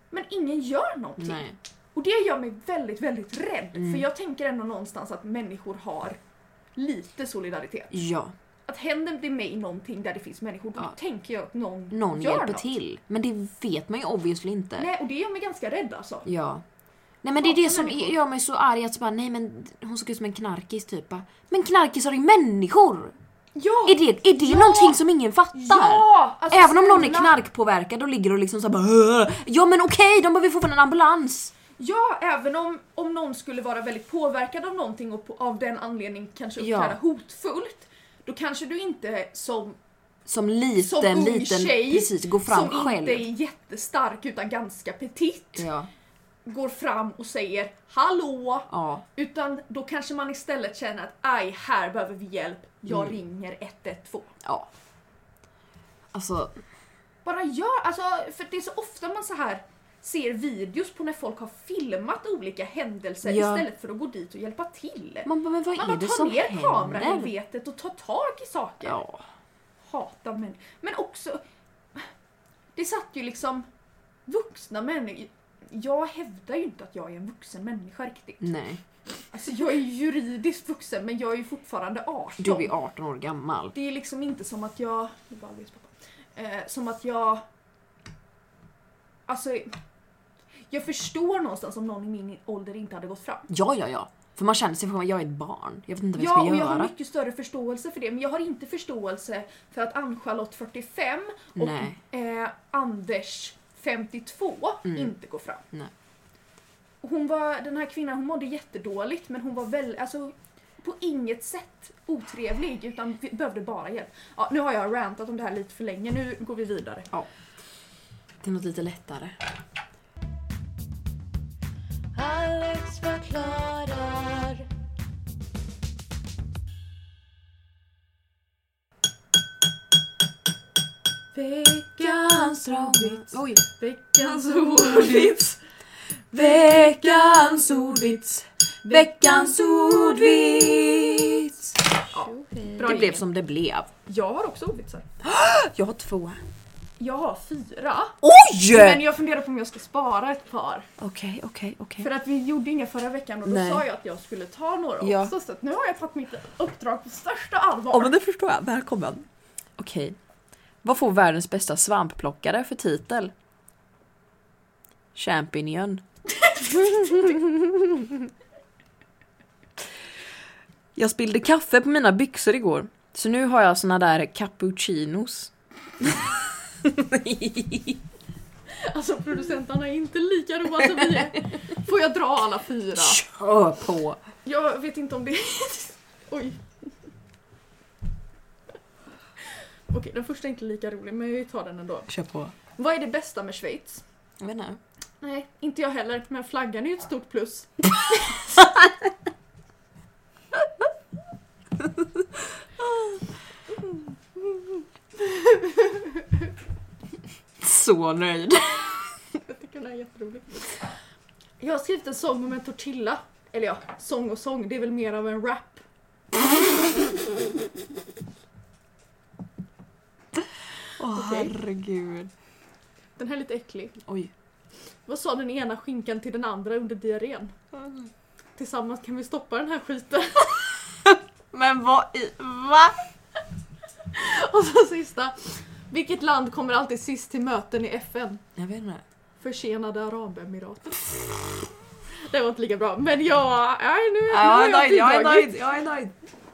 A: men ingen gör någonting.
B: nej. Mm.
A: Och det gör mig väldigt, väldigt rädd. För jag tänker ändå någonstans att människor har lite solidaritet.
B: Ja,
A: Att händer det mig någonting där det finns människor, då
B: Ja.
A: tänker jag att någon,
B: någon
A: gör
B: hjälper
A: något.
B: till. Men det vet man ju obviously inte.
A: Nej, och det gör mig ganska rädd alltså.
B: Ja. Nej men det är det som
A: människor.
B: gör mig så arg att så bara, nej men hon såg ut som en knarkis typ. bara. Men knarkisar är ju människor!
A: Ja!
B: Är det, är det
A: Ja!
B: någonting som ingen fattar?
A: ja! Alltså,
B: Även om någon är
A: snälla.
B: knarkpåverkad och ligger och liksom såhär Ja men okej, de behöver få en ambulans!
A: Ja, även om, om någon skulle vara väldigt påverkad av någonting och på, av den anledningen kanske
B: Ja.
A: uppträda hotfullt. Då kanske du inte som,
B: Som liten,
A: som ung
B: liten,
A: tjej
B: precis, går
A: som
B: fram själv.
A: inte är jättestark utan ganska petit
B: Ja,
A: går fram och säger hallå.
B: ja,
A: Utan då kanske man istället känner att aj, här behöver vi hjälp. Jag
B: Mm.
A: ringer 112.
B: ja. Alltså,
A: Bara gör, alltså för det är så ofta man så här ser videos på när folk har filmat olika händelser
B: Ja.
A: istället för att gå dit och hjälpa till.
B: man bara, men vad
A: Man
B: är
A: bara
B: det
A: tar
B: som
A: ner kameran i
B: händer?
A: vetet och tar tag i saker.
B: Ja,
A: Hatar män. Men också, det satt ju liksom vuxna människor. Jag hävdar ju inte att jag är en vuxen människa riktigt.
B: nej.
A: Alltså jag är ju juridiskt vuxen men jag är ju fortfarande 18.
B: Du är 18 år gammal.
A: Det är liksom inte som att jag... det är bara Alvis pappa. Eh, som att jag... Alltså... Jag förstår någonstans om någon i min ålder inte hade gått fram.
B: Ja, ja, ja. För man känner sig som att jag är ett barn. Jag vet inte vad jag
A: Ja,
B: ska
A: och jag
B: göra.
A: har mycket större förståelse för det, men jag har inte förståelse för att Ann-Charlotte 45
B: Nej. Mm.
A: och eh, Anders 52 inte går fram.
B: Nej.
A: Hon var, den här kvinnan hon mådde jättedåligt, men hon var väl, alltså, på inget sätt otrevlig utan vi- behövde bara hjälp. Ja, nu har jag rantat om det här lite för länge, nu går vi vidare.
B: Till något lite lättare.
D: Alex förklarar.
A: Veckans ordvits.
C: Oj.
A: Veckans
C: ordvits.
B: Veckans ordvits. Veckans ordvits.
A: Bra
B: Mm. Det blev
A: jingel.
B: som det blev.
A: Jag har också ordvitsar.
B: Jag har två.
A: Jag har fyra.
B: Oj!
A: Men jag funderar på om jag ska spara ett par.
B: Okej, okej, okej.
A: För att vi gjorde inga förra veckan och då
B: Mm. Nej.
A: sa jag att jag skulle ta några
B: Ja.
A: också. Så att nu har jag tagit mitt uppdrag på största allvar.
B: Ja men det förstår jag. Välkommen. Okej. Vad får världens bästa svampplockare för titel? Champignon. jag spillde kaffe på mina byxor igår. Så nu har jag såna där cappuccinos.
A: Alltså producenterna är inte lika roa som vi är. Får jag dra alla fyra?
B: Kör på!
A: Jag vet inte om det Oj. Okej, den första är inte lika rolig men vi tar den ändå.
B: Kör på.
A: Vad är det bästa med Schweiz?
B: Jag vet inte.
A: Nej, inte jag heller, men flaggan är ju ett stort plus.
B: Så nöjd.
A: Jag tycker den här är jätterolig. Jag har skrivit en sång om en tortilla. Eller ja, sång och sång, det är väl mer av en rap.
B: Åh
A: Okej.
B: herregud.
A: Den här är lite äcklig.
B: Oj.
A: Vad sa den ena skinkan till den andra under diarrén? Tillsammans kan vi stoppa den här skiten.
B: Men vad i... Va?
A: Och så sista. Vilket land kommer alltid sist till möten i FN?
B: Jag vet inte.
A: Försenade Arabemiraten. Det var inte lika bra, men jag... Nej, nu,
B: Ja,
A: nu har jag,
B: jag är
A: bidragit.
B: nöjd, jag är nöjd.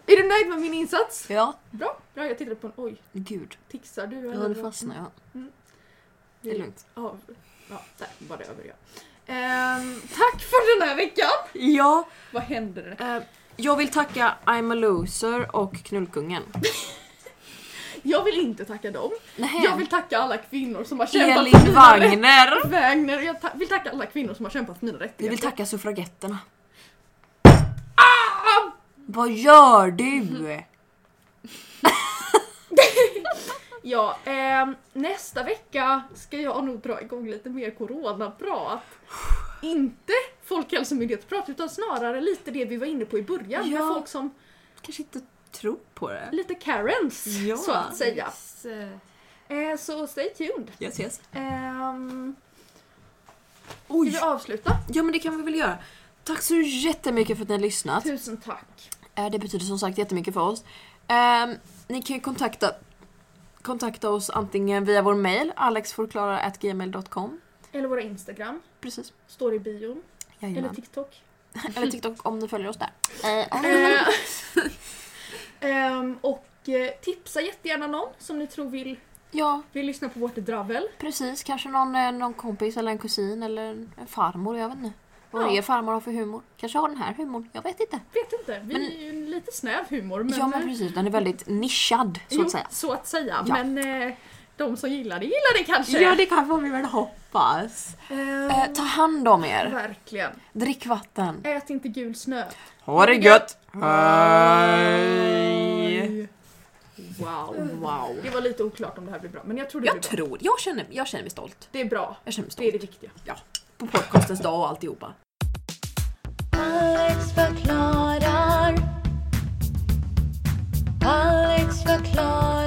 A: Är du nöjd med min insats?
B: Ja.
A: Bra. Ja, jag tittade på en... Oj,
B: Gud.
A: tixar du?
B: Jag
A: eller
B: hade
A: vad?
B: fastnat ja. Det
A: Vi-
B: är lugnt.
A: Ja, ja där var det över ja. Ehm, tack för den här veckan!
B: Ja.
A: Vad händer? det?
B: eh, jag vill tacka I'm a loser och Knullkungen.
A: Jag vill inte tacka dem.
B: Nej.
A: Jag vill tacka alla kvinnor som har kämpat för
B: Elin
A: mina
B: Wagner.
A: rätt- Wagner. Jag ta- vill tacka alla kvinnor som har kämpat för mina
B: Vi
A: rättigheter.
B: vill tacka suffragetterna. Vad gör du?
A: Ja, ehm, nästa vecka ska jag nog dra igång lite mer coronaprat. Inte folkhälsomyndighetsprat utan snarare lite det vi var inne på i början med
B: Ja.
A: folk som
B: Kanske inte tror på det.
A: lite Karens
B: Ja.
A: så att säga. Eh, så stay tuned.
B: Yes, yes.
A: Ehm, ska
B: Oj!
A: vi avsluta?
B: Ja men det kan vi väl göra. Tack så jättemycket för att ni har lyssnat.
A: Tusen tack.
B: Eh, Det betyder som sagt jättemycket för oss. Ehm, ni kan ju kontakta, kontakta oss antingen via vår mail alexforklara.gmail.com
A: Eller våra Instagram,
B: Precis.
A: står i bion. Eller
B: Jajamän.
A: TikTok.
B: Eller TikTok om ni följer oss där.
A: Eh, ehm, och eh, tipsa jättegärna någon som ni tror vill,
B: Ja,
A: vill lyssna på vårt dravel.
B: precis. Kanske någon, eh, någon kompis eller en kusin eller en en farmor. Jag vet inte. Vad
A: Ja.
B: er farmor har för humor. Kanske har den här humorn. Jag vet inte.
A: Vet inte, vi
B: Men-
A: är ju en lite snäv humor men... eh,
B: ja men precis, den är väldigt nischad så
A: jo,
B: att säga.
A: så att säga.
B: Ja.
A: Men eh, de som gillar det gillar det kanske.
B: det kan man väl hoppas.
A: Ehm,
B: Eh, ta hand om er.
A: verkligen.
B: Drick vatten.
A: Ät inte gul snö.
B: Ha
A: det gött.
B: Hej!
A: Wow, wow. Det var lite oklart om det här blir bra men jag tror det
B: Jag
A: blir bra.
B: tror, jag känner, jag känner mig stolt.
A: Det är bra.
B: Jag känner mig
A: Det är
B: stolt.
A: det viktiga.
B: På podcastens dag och alltihopa.
D: Alex förklarar. Alex förklarar.